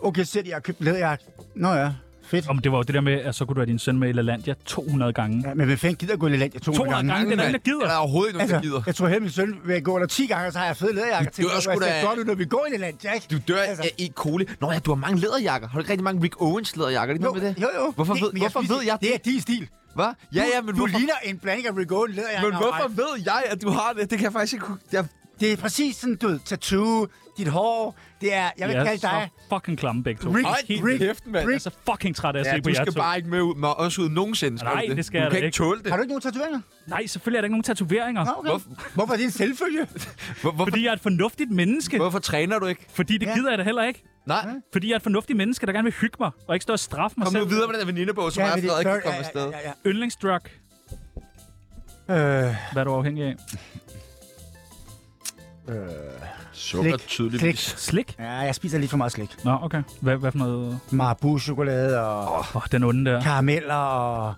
D: okay, sæt jeg har købt læderjagt. Nå ja, fedt.
A: Om det var jo det der med, at så kunne du have din søn med i LaLandia 200 gange.
D: Ja, men hvem fanden gider gå i land? Jeg tog
A: 200 gange, det er der ingen, der gider.
B: Der er overhovedet ikke nogen, der
D: Altså,
B: gider.
D: jeg tror hele min søn vil gå under 10 gange, og så har jeg fede læderjakker til.
B: dør
D: mig,
B: sgu
D: hvor jeg ser
B: da-
D: godt ud, når vi går i land, Jack.
B: Du dør
D: Altså.
B: af E. coli. Nå ja, du har mange læderjakker. Har du ikke rigtig mange Rick Owens læderjakker? Er det ikke
D: Jo,
B: noget med det?
D: jo, jo.
B: Hvorfor,
D: det,
B: ved,
D: men
B: hvorfor
D: synes,
B: ved jeg
D: det?
B: det?
D: Det er din stil.
B: Hvad? Ja, ja, men
D: du
B: hvorfor,
D: ligner en blanding af Rigol læderjakker.
B: men
D: og
B: hvorfor
D: ret.
B: ved jeg, at du har det? Det kan jeg faktisk ikke... kunne- Jeg,
D: Det er præcis sådan, du ved, tattoo, dit hår, det er, jeg vil
A: I er
D: kalde dig...
A: så fucking klamme begge to.
D: Rick,
A: Jeg er
B: Ej,
A: helt-
B: Rick, kæft, mand.
A: Jeg er så fucking træt af at
B: ja,
A: se på
B: du
A: jer
B: skal
A: to.
B: bare ikke med ud, med os ud nogensinde. skal
A: Nej,
B: du
A: det skal jeg
B: Du kan
A: da
B: ikke tåle det.
D: Har du ikke nogen tatoveringer?
A: Nej, selvfølgelig er der ikke nogen tatoveringer.
D: Nå, okay.
B: Hvorfor-
D: Hvorfor er det en selvfølge?
B: Hvor, hvorfor,
A: Fordi jeg er et fornuftigt menneske.
B: hvorfor træner du ikke?
A: Fordi det
D: Ja.
A: gider jeg da heller ikke.
B: Nej,
A: Fordi jeg er et fornuftigt menneske, der gerne vil hygge mig, og ikke stå og straffe mig
B: kom nu
A: selv.
B: videre med den der venindebog, så
D: Ja,
B: mig og
D: fordi-
B: Frederik kan
D: sorry,
B: komme afsted.
D: ja, ja.
A: Yndlingsdrug.
D: Øh,
A: Hvad er du afhængig af?
E: Sukker
D: Slik.
E: tydeligvis.
D: slik.
A: Slik?
D: Ja, jeg spiser lidt for meget slik.
A: Nå, okay. Hvad, hvad for noget?
D: Marabu-chokolade og
A: Åh, oh, den onde der.
D: karameller og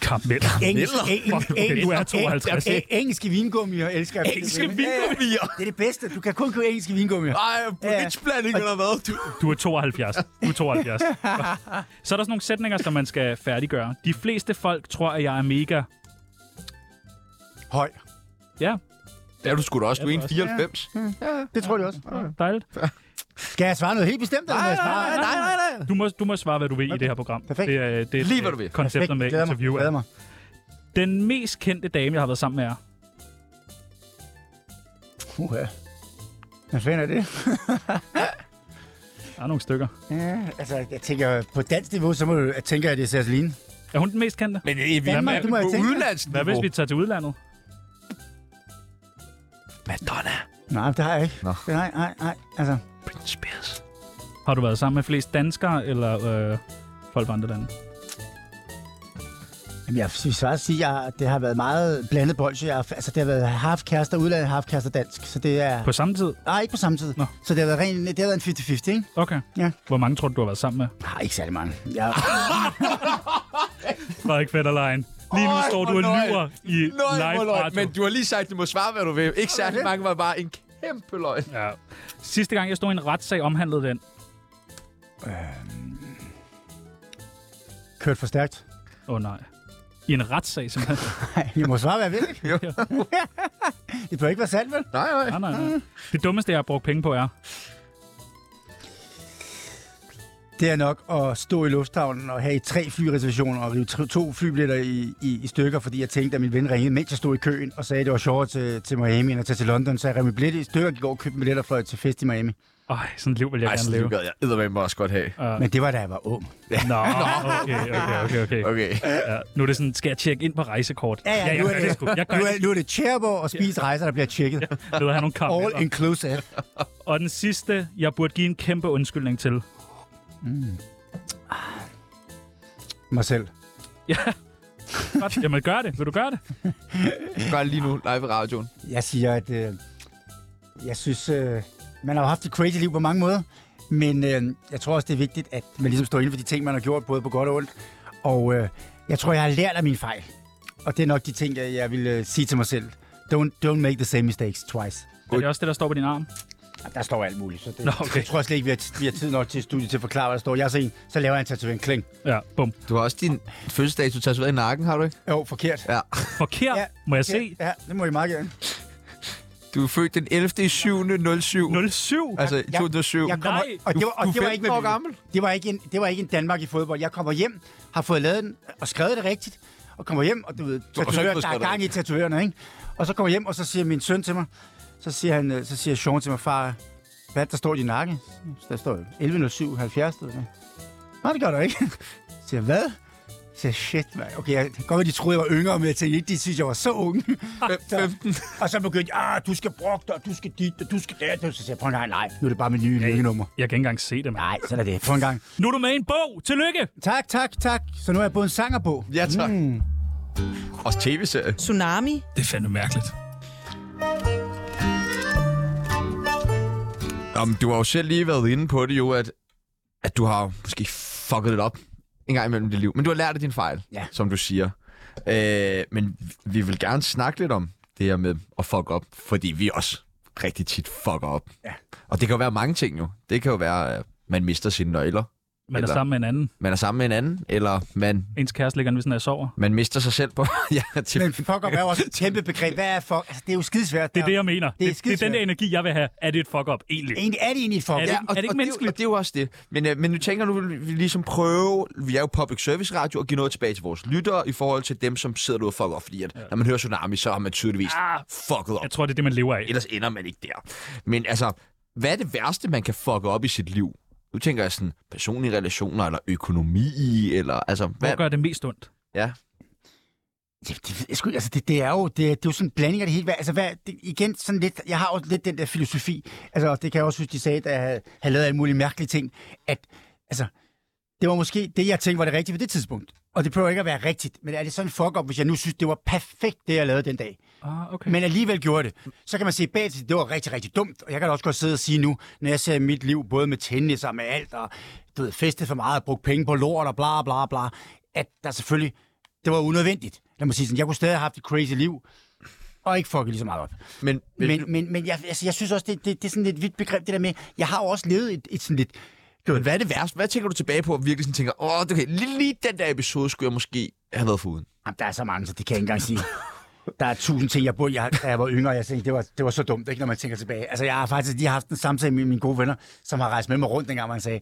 A: Karamel.
D: engelsk,
B: Karameller?
D: engelsk,
A: Fuck, okay,
D: engelsk,
A: du er 52.
D: engelsk, engelske vingummier elsker jeg.
A: Engelske
D: Ja, ja, ja.
B: Vingummier.
D: Det er det bedste. Du kan kun købe engelske vingummier.
B: Ej, bridgeblanding eller hvad? Du.
A: Du er 72. Du er 72. Så er der sådan nogle sætninger, som man skal færdiggøre. De fleste folk tror, at jeg er mega...
D: Høj.
A: Ja,
B: Det er du sgu da også. Du
A: Ja,
B: er
A: det
B: 94.
D: Det tror jeg også.
A: dejligt.
D: Skal jeg svare noget helt bestemt? eller må jeg svare-
B: nej, nej, nej.
A: Du må, du må svare, hvad du vil i det her program.
D: Perfekt.
A: Det er, det er
B: Lige, hvad du vil.
A: Konceptet
D: Perfekt.
A: med
D: Glæder mig.
A: interview.
D: Glæder
A: er-
D: mig.
A: Den mest kendte dame, jeg har været sammen med, er...
D: Uha. Hvad fanden er det?
A: Der er nogle stykker.
D: Ja, altså, jeg tænker, på dansk niveau, så må du, jeg tænker, at det er Sasseline.
A: Er hun den mest kendte?
B: Men det er vi
D: Danmark, du må
B: på
D: jeg tænke.
B: udenlandsk
A: Hvad hvis vi tager til udlandet?
B: Madonna.
D: Nej, det har jeg ikke.
B: Nå.
D: Nej, nej, nej. Altså,
B: Britney Spears.
A: Har du været sammen med flest danskere eller øh, folk fra andre lande?
D: jamen, jeg vil svare at sige, at det har været meget blandet bolsje. Jeg har, altså, det har været half kærester udlandet, half kærester dansk. Så det er...
A: På samme tid?
D: Nej, ikke på samme tid.
A: Nå.
D: Så det har været, ren, det har været en 50-50, ikke?
A: Okay.
D: Ja.
A: Hvor mange tror du, du har været sammen med?
D: Nej, ikke særlig mange. Jeg,
A: Frederik Fetterlein. Lige nu
B: Øj,
A: står du
B: hvor
A: og
B: løgn.
A: lyver i
B: Nøj,
A: live
B: hvor løgn.
A: radio.
B: Men du har lige sagt, at du må svare, hvad du vil. Ikke særlig mange var bare en kæmpe løgn.
A: Ja. Sidste gang, jeg stod i en retssag, omhandlede den.
D: kørt for stærkt.
A: Åh oh, nej. I en retssag, simpelthen.
D: Nej, jeg må svare, hvad jeg vil, ikke?
B: Jo.
D: det bør ikke være sandt, vel?
B: Nej, nej.
A: nej, nej, nej. Det dummeste, jeg har brugt penge på, er...
D: Det er nok at stå i lufthavnen og have tre flyreservationer og rive tre- to flybilletter i, i, i stykker, fordi jeg tænkte, at min ven ringede, mens jeg stod i køen, og sagde, at det var sjovere til, til Miami end at tage til London, så jeg rev min billet i stykker, gik over og købte billetter og fløj til fest i Miami.
A: Ej, sådan et liv vil jeg
B: Ej,
A: gerne
B: sådan
A: leve.
B: det gad jeg eddermame også godt have.
D: Men det var, da jeg var ung.
A: Nå, okay, okay, okay. okay.
B: Okay.
A: Ja, nu er det sådan, skal jeg tjekke ind på rejsekort?
D: Ja, ja,
A: jeg
D: nu
A: gør
D: er
A: det
D: det,
A: sgu. Jeg gør
D: nu er,
A: det.
D: nu er det Cherbourg og spise rejser, der bliver tjekket.
A: Jeg ved at have nogle
D: All
A: kampagner.
D: inclusive.
A: Og den sidste, jeg burde give en kæmpe undskyldning til.
D: Mig selv.
A: Ja. Godt. Jamen, gør det. Vil du gøre det?
B: Gør det lige nu, live i radioen.
D: Jeg siger, at øh, jeg synes, øh, man har jo haft et crazy liv på mange måder, men øh, jeg tror også, det er vigtigt, at man ligesom står inde for de ting, man har gjort, både på godt og ondt. Og øh, jeg tror, jeg har lært af mine fejl. Og det er nok de ting, jeg, jeg vil øh, sige til mig selv. Don't, don't make the same mistakes twice.
A: Er det også det, der står på din arm?
D: Der står alt muligt, så det,
A: Nå, okay.
D: jeg tror slet ikke, vi har, vi har tid nok til studiet til at forklare, hvad der står. Jeg er så en, så laver jeg en tatovering. Kling.
A: Ja, bum.
B: Du har også din fødselsdato tatoveret i nakken, har du ikke?
D: Jo, forkert.
B: Ja.
A: Forkert, ja.
D: Ja.
A: må jeg se.
D: Ja, det må I meget gerne.
B: Du er født den 11. i 7. 07.
A: 07.
B: Altså,
D: Jeg-
B: 2007.
D: Jeg kommer,
A: Nej.
D: og det var, og
B: Du- du er
D: det var
B: 15
D: ikke med
B: år
D: vilje.
B: gammel.
D: Det var, ikke en, det var ikke en Danmark i fodbold. Jeg kommer hjem, har fået lavet den og skrevet det rigtigt, og kommer hjem, og du ved,
B: fået
D: tatovører, der er
B: skrevet det
D: gang i tatovørerne, ikke? Og så kommer jeg hjem, og så siger min søn til mig, så siger, han, øh, så siger Sean til mig, far, hvad er det, der står i din nakke? Der står 11.07.70. eller hvad? Nej, det gør der ikke. Så siger jeg, hvad? Så siger jeg, shit, mand. Okay, jeg kan godt, at de troede, jeg var yngre, men jeg tænkte ikke, de synes, jeg var så ung. Så-
B: 15.
D: og så begyndte jeg, ah, du skal brokke dig, du skal dit, og du skal det. Så siger jeg, prøv en gang, nej, nu er det bare mit nye lykkenummer.
A: Jeg kan ikke engang se det, mand.
D: Nej, sådan er det. Prøv en gang.
A: Nu er du med i en bog. Tillykke.
D: Tak, tak, tak. Så nu har jeg både en sanger på.
B: Ja, tak. Mm. Også tv-serie.
G: Tsunami.
A: Det er fandme mærkeligt.
B: Jamen, du har jo selv lige været inde på det jo, at, at du har jo måske fucket lidt op en gang imellem i dit liv. Men du har lært af din fejl,
D: Ja.
B: som du siger. Øh, men vi vil gerne snakke lidt om det her med at fuck op, fordi vi også rigtig tit fucker op. Ja. Og det kan jo være mange ting jo. Det kan jo være, at man mister sine nøgler,
A: Man er
B: Eller-
A: sammen med en anden.
B: man er sammen med en anden, eller man,
A: Ens kæreste ligger ved sådan, jeg sover.
B: man mister sig selv på... ja, til,
D: Men fuck up er jo også et kæmpe begreb. Hvad er fuck? Altså, det er jo skidesvært.
A: Det er det, jeg mener. Det, det, det er
D: skidesvært.
A: den der energi, jeg vil have. Er det et fuck-up egentlig?
D: Egentlig er det egentlig et fuck
A: Er
D: up.
A: det
D: Ja.
A: ikke- ikke
B: og
A: menneskeligt?
B: Det, og det er jo også det. Men, øh, men nu tænker jeg, nu, vil vi ligesom prøve, vi er jo public service radio, og give noget tilbage til vores lyttere i forhold til dem, som sidder derude og fucker op. Fordi at, ja. når man hører Tsunami, så har man tydeligvis ah, fucket op.
A: Jeg tror, det er det, man lever af.
B: Ellers ender man ikke der. Men altså, hvad er det værste, man kan fucke op i sit liv? Nu tænker jeg sådan personlige relationer, eller økonomi, eller altså... Hvad,
A: Hvor gør det mest ondt?
B: ja.
D: Det, det, ved jeg sgu ikke. altså, det, det, er jo, det, det er jo sådan en blanding af det hele. Hvad- Altså, hvad, det, igen, sådan lidt, jeg har også lidt den der filosofi. Altså, og det kan jeg også huske, de sagde, da jeg havde, havde lavet alle mulige mærkelige ting. At, altså, det var måske det, jeg tænkte var det rigtige på det tidspunkt. Og det prøver ikke at være rigtigt. Men er det sådan en fuck up, hvis jeg nu synes, det var perfekt, det jeg lavede den dag?
A: Ah, okay.
D: men alligevel gjorde det. Så kan man se bag til, det var rigtig, rigtig dumt. Og jeg kan da også godt sidde og sige nu, når jeg ser mit liv, både med tennis og med alt, og du ved, festet for meget, brugt penge på lort og bla bla bla, at der selvfølgelig, det var unødvendigt. Lad mig sige sådan, jeg kunne stadig have haft et crazy liv, og ikke fucket lige så meget op.
B: Men, men,
D: Men, men, men jeg, altså, jeg synes også, det, det, det er sådan et vidt begreb, det der med, jeg har jo også levet et, et sådan lidt, du ved,
B: hvad er det værste? Hvad tænker du tilbage på, og virkelig sådan tænker, åh, okay, lige, lige den der episode skulle jeg måske have været foruden?
D: Jamen, der er så mange, så det kan jeg ikke engang sige. Der er tusind ting, jeg burde, jeg, da jeg var yngre, jeg tænkte, det var, det var så dumt, ikke, når man tænker tilbage. Altså, jeg har faktisk lige haft en samtale med mine gode venner, som har rejst med mig rundt, dengang man sagde,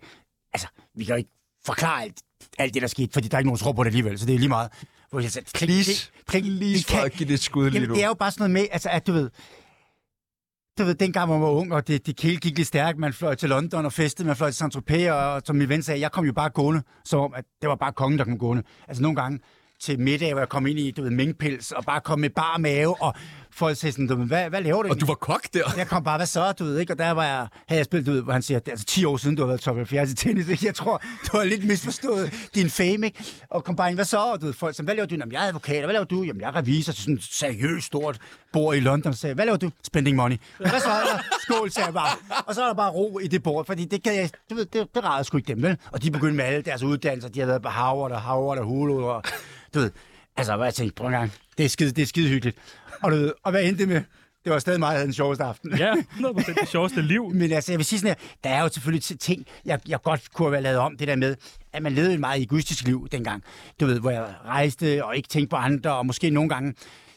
D: altså, vi kan jo ikke forklare alt, alt det, der skete, fordi der er ikke nogen, der tror på det alligevel, så det er lige meget. Hvor jeg sagde, klik,
B: Please,
D: klik,
B: please,
D: det kan-
B: fuck, give det et skud lige
D: Jamen,
B: nu.
D: det er jo bare sådan noget med, altså, at du ved, du ved, dengang man var ung, og det, det hele gik lidt stærkt, man fløj til London og festede, man fløj til Saint-Tropez, og som min ven sagde, jeg kom jo bare gående, som om, at det var bare kongen, der kom gående. Altså nogle gange til middag, hvor jeg kom ind i, du ved, minkpils, og bare kom med bar mave, og folk sagde sådan, du ved, hvad, hvad laver du
B: Og du var kok der.
D: jeg kom bare, hvad så, du ved ikke? Og der var jeg, havde jeg spillet, du ved, hvor han siger, det er altså 10 år siden, du har været top 70 i tennis, ikke? Jeg tror, du har lidt misforstået din fame, ikke? Og kom bare ind, hvad så, og du ved, folk som, hvad laver du? Jamen, jeg er advokat, og hvad laver du? Jamen, jeg er revisor til sådan et seriøst stort bord i London, og sagde, hvad laver du? Spending money. Og hvad så, og skål, sagde jeg bare. Og så er der bare ro i det bord, fordi det kan jeg, du ved, det, det rejede sgu ikke dem, vel? Og de begyndte med alle deres uddannelser, de har været på Harvard og Harvard og Hulu, og du ved, altså, hvad jeg tænkte, prøv en gang, det er skide, det er skide hyggeligt. Og, du ved, og hvad endte det med? Det var stadig mig, der havde den sjoveste aften.
A: Ja, 100% det sjoveste liv.
D: Men altså, jeg vil sige sådan her, der er jo selvfølgelig ting, jeg, jeg godt kunne have været lavet om, det der med, at man levede et meget egoistisk liv dengang. Du ved, hvor jeg rejste og ikke tænkte på andre, og måske nogle gange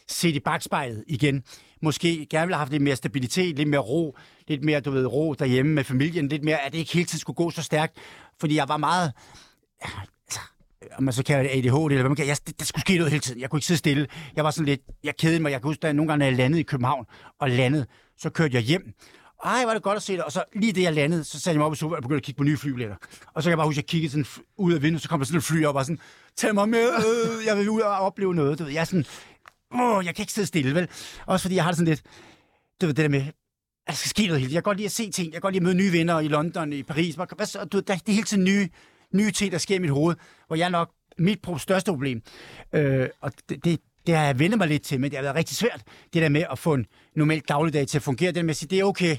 D: set i bagspejlet igen. Måske gerne ville have haft lidt mere stabilitet, lidt mere ro, lidt mere, du ved, ro derhjemme med familien, lidt mere, at det ikke hele tiden skulle gå så stærkt. Fordi jeg var meget, om man så kalder det ADHD, eller hvad man kalder det. Jeg, der skulle ske noget hele tiden. Jeg kunne ikke sidde stille. Jeg var sådan lidt, jeg kedede mig. Jeg kan huske, da jeg nogle gange når jeg landede i København og landede, så kørte jeg hjem. ej, var det godt at se dig. Og så lige det, jeg landede, så satte jeg mig op i sofaen og begyndte at kigge på nye flybilletter. Og så kan jeg bare huske, at jeg kiggede sådan f- ud af vinduet, så kom der sådan et fly op og sådan, tag mig med, øh, jeg vil ud og opleve noget. Du ved, jeg er sådan, åh, jeg kan ikke sidde stille, vel? Også fordi jeg har det sådan lidt, du ved, det der med, at der skal ske noget hele tiden. Jeg kan godt lide at se ting. Jeg kan godt lide at møde nye venner i London, i Paris. Hvad- Hvad, så, du, ved, der, det er hele tiden nye, nye ting, der sker i mit hoved, hvor jeg nok mit pro- største problem. Øh, og det, det, det har jeg vendt mig lidt til, men det har været rigtig svært, det der med at få en normal dagligdag til at fungere. Det der med at sige, det er okay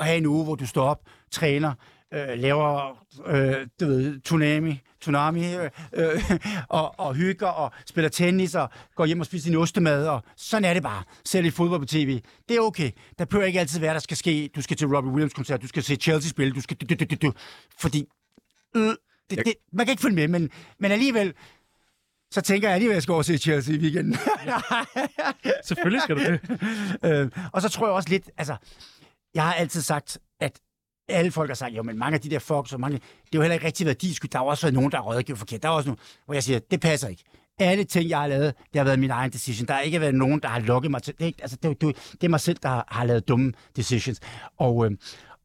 D: at have en uge, hvor du står op, træner, øh, laver, øh, du ved, tsunami, tsunami øh, øh, og, og hygger og spiller tennis og går hjem og spiser din ostemad. Og sådan er det bare. Ser lidt fodbold på tv. Det er okay. Der behøver ikke altid være, der skal ske. Du skal til Robbie Williams-koncert, du skal se Chelsea spille, du skal... Du, du, du, du, du, fordi... Øh, det, det, man kan ikke følge med, men, men alligevel... Så tænker jeg alligevel, at jeg skal over og se Chelsea i weekenden.
A: Selvfølgelig skal du det.
D: Øh, og så tror jeg også lidt, altså, jeg har altid sagt, at alle folk har sagt, jo, men mange af de der fucks og mange, det er jo heller ikke rigtig været din skyld. Der har jo også været nogen, der har rådgivet forkert. Der er også nogen, hvor jeg siger, det passer ikke. Alle ting, jeg har lavet, det har været min egen decision. Der har ikke været nogen, der har lukket mig til. Det er, ikke, altså, det, er jo- det, er jo- det er mig selv, der har, har lavet dumme decisions. Og, øh,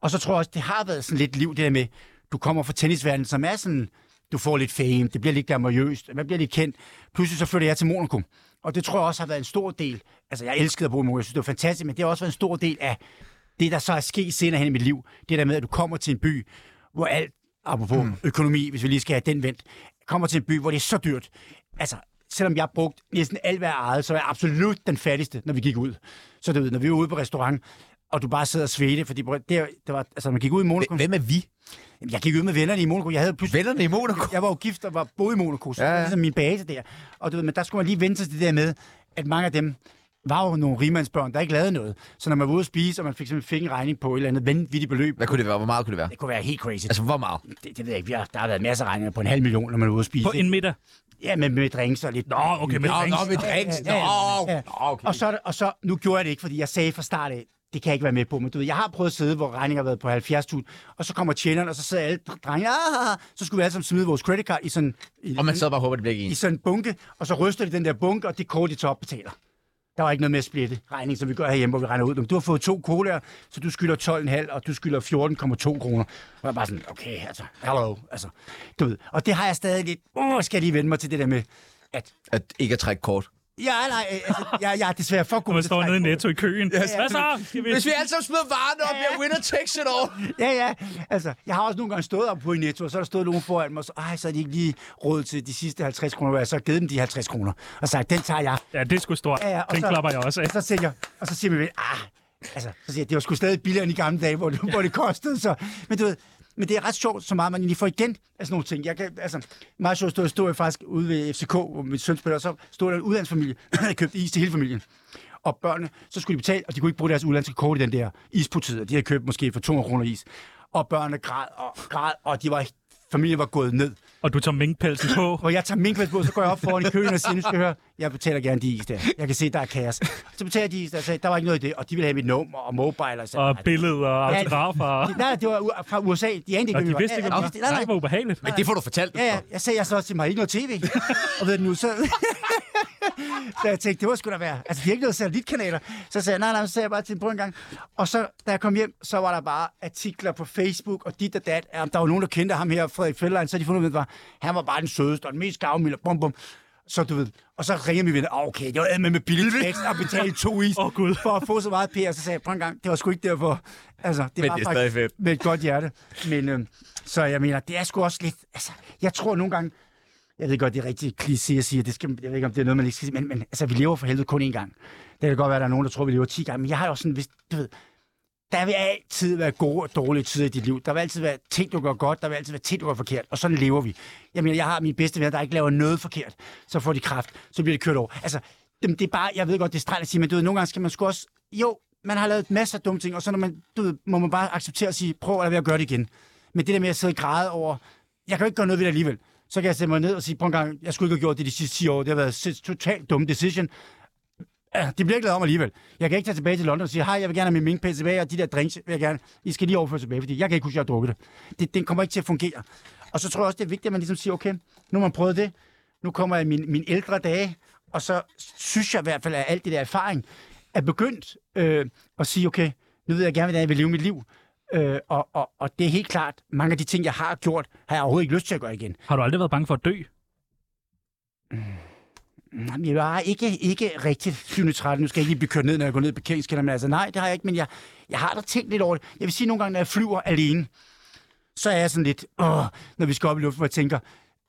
D: og så tror jeg også, det har været sådan lidt liv, det der med, du kommer fra tennisverdenen, som er sådan, du får lidt fame, det bliver lidt glamourøst, man bliver lidt kendt. Pludselig så flytter jeg til Monaco. Og det tror jeg også har været en stor del. Altså, jeg elskede at bo i Monaco, jeg synes, det var fantastisk, men det har også været en stor del af det, der så er sket senere hen i mit liv. Det der med, at du kommer til en by, hvor alt, apropos mm. økonomi, hvis vi lige skal have den vendt, kommer til en by, hvor det er så dyrt. Altså, selvom jeg brugte næsten alt, hvad jeg ejede, så var jeg absolut den fattigste, når vi gik ud. Så du ved, når vi var ude på restaurant, og du bare sidder og svedte, fordi det, det var, altså, når man gik ud i Monaco.
B: Hvem er vi?
D: Jamen, Jeg gik ud med vennerne i Monaco. Jeg havde pludselig...
B: Vennerne i Monaco?
D: Jeg var jo gift og var boede i Monaco, så
B: Ja,
D: ja,
B: ja.
D: ja. ligesom min base der. Og du ved, men der skulle man lige vente sig til det der med, at mange af dem var jo nogle rigmandsbørn, der ikke lavede noget. Så når man var ude at spise, og man fik, simpelthen fik en regning på et eller andet vanvittigt beløb,
B: Hvad kunne det være? Hvor meget kunne det være?
D: det kunne være helt crazy. Altså,
B: Altså, hvor meget?
D: det, det ved jeg ikke. Vi har, der har været masser af regninger på en halv million, når man er ude at spise.
A: På en middag.
D: Ja, med, med drinks og lidt... Nå,
A: okay, med drinks.
B: nå, med drinks. Nå, okay.
D: Og så, er det- og så, nu gjorde jeg det ikke, fordi jeg sagde fra start af, det kan jeg ikke være med på, men du ved, jeg har prøvet at sidde, hvor regningen har været på 70.000, og så kommer tjeneren, og så sidder alle drenge, ah, så skulle vi alle sammen smide vores credit card i sådan, i,
B: Og man sad bare og håber, det bliver ikke
D: i
B: ens.
D: sådan en bunke, og så ryster de den der bunke, og det kort, de så opbetaler. Der var ikke noget med at splitte regning, som vi gør herhjemme, hvor vi regner ud. "Nå, men Du har fået to colaer, så du skylder 12,5, og du skylder 14,2 kroner. Og jeg er bare sådan, okay, altså, hello, altså, du ved. Og det har jeg stadig lidt, åh, skal jeg lige vende mig til det der med, at
B: At ikke at trække kort.
D: Ja, nej, øh, altså, jeg, jeg er desværre for god
A: Man
D: til
A: står nede i
D: tegn.
A: Netto i køen. Hvad så? Skal vi...
B: Hvis vi alle sammen smider varerne op, jeg winner takes it all.
D: Ja, ja. Altså, jeg har også nogle gange stået op på i Netto, og så er der stået nogen foran mig, og så, ej, så er de ikke lige råd til de sidste 50 kroner, hvor jeg så har givet dem de 50 kroner, og sagt, den tager jeg.
A: Ja, det er sgu stort.
D: Ja, ja, og
A: Den
D: så-
A: klapper jeg også af.
D: Og så siger jeg, og så siger min ven, ah, altså, så siger jeg, det var sgu stadig billigere end i gamle dage, hvor det, hvor det kostede, så, men du ved, men det er ret sjovt, så meget man egentlig får igen af sådan nogle ting. Jeg kan, altså, meget sjovt stod, stod jeg faktisk ude ved FCK, hvor min søn spiller, og så stod der en udlandsfamilie, der købte is til hele familien. Og børnene, så skulle de betale, og de kunne ikke bruge deres udlandske kort i den der isputid, og de havde købt måske for 200 kroner is. Og børnene græd og græd, og de var, familien var gået ned
A: Og du tager minkpelsen på.
D: hvor jeg tager min på, så går jeg op foran i køen og siger, nu skal jeg høre, jeg betaler gerne de is der. Jeg kan se, der er kaos. Så betaler de is der, så der var ikke noget i det, og de ville have mit nummer og mobile. Og, så,
A: Og billeder og
D: Ja,
A: autografer.
D: de, nej, det var u- fra USA. De anede ikke,
A: Og
D: hvem
A: de
D: jeg var.
A: vidste ikke,
D: Ja,
A: hvad
D: ja, de vidste- Nej,
A: det var
D: nej.
A: ubehageligt.
B: Men det får du fortalt.
D: Ja, ja. Jeg sagde, jeg så også til mig, ikke noget tv. og ved du nu, så... så jeg tænkte, det var sgu da være. Altså, de har ikke noget satellitkanaler. Så sagde jeg, nej, nej, så sagde jeg bare til en på en gang. Og så, da jeg kom hjem, så var der bare artikler på Facebook og dit og dat. Ja, der var nogen, der kendte ham her, Frederik Fjellein, så havde de fundet ud af, at det var, han var bare den sødeste og den mest gavmilde. Bum, bum. Så du ved, og så ringer min venner, oh, okay, det var med med billigt tekst at betale to is
A: Åh, Gud.
D: for at få så meget PR. Så sagde jeg, prøv en gang, det var sgu ikke derfor. Altså, det
B: Men
D: var
B: det er
D: faktisk
B: stadig fedt.
D: med et godt hjerte. Men øhm, så jeg mener, det er sgu også lidt, altså, jeg tror nogle gange, jeg ved godt, det er rigtig kliché at sige, at det skal, jeg ved ikke, om det er noget, man ikke skal sige, men, men altså, vi lever for helvede kun én gang. Det kan godt være, at der er nogen, der tror, vi lever 10 gange, men jeg har jo sådan, hvis, du ved, der vil altid være gode og dårlige tider i dit liv. Der vil altid være ting, du gør godt, der vil altid være ting, du gør forkert, og sådan lever vi. Jeg mener, jeg har mine bedste venner, der ikke laver noget forkert, så får de kraft, så bliver de kørt over. Altså, det, det er bare, jeg ved godt, det er strengt at sige, men du ved, nogle gange skal man sgu også, jo, man har lavet masser af dumme ting, og så når man, du ved, må man bare acceptere og sige, prøv at lade være at gøre det igen. Men det der med at sidde og græde over, jeg kan jo ikke gøre noget ved det alligevel, så kan jeg sætte mig ned og sige, prøv en gang, jeg skulle ikke have gjort det de sidste 10 år, det har været en totalt dum decision, Ja, de bliver ikke lavet om alligevel. Jeg kan ikke tage tilbage til London og sige, hej, jeg vil gerne have min minkpæl tilbage, og de der drinks vil jeg gerne, I skal lige overføre tilbage, fordi jeg kan ikke huske, at jeg har drukket det. det. Den kommer ikke til at fungere. Og så tror jeg også, det er vigtigt, at man ligesom siger, okay, nu har man prøvet det, nu kommer jeg i min, mine ældre dage, og så synes jeg i hvert fald, at alt det der erfaring er begyndt øh, at sige, okay, nu ved jeg gerne, hvordan jeg vil leve mit liv. Øh, og, og, og det er helt klart, mange af de ting, jeg har gjort, har jeg overhovedet ikke lyst til at gøre igen.
A: Har du aldrig været bange for at dø?
D: Nej, men jeg har ikke, ikke rigtig 713. Nu skal jeg ikke lige blive kørt ned, når jeg går ned i parkeringskælderen. Men altså, nej, det har jeg ikke, men jeg, jeg har da tænkt lidt over det. Jeg vil sige, nogle gange, når jeg flyver alene, så er jeg sådan lidt, åh, når vi skal op i luften, hvor jeg tænker,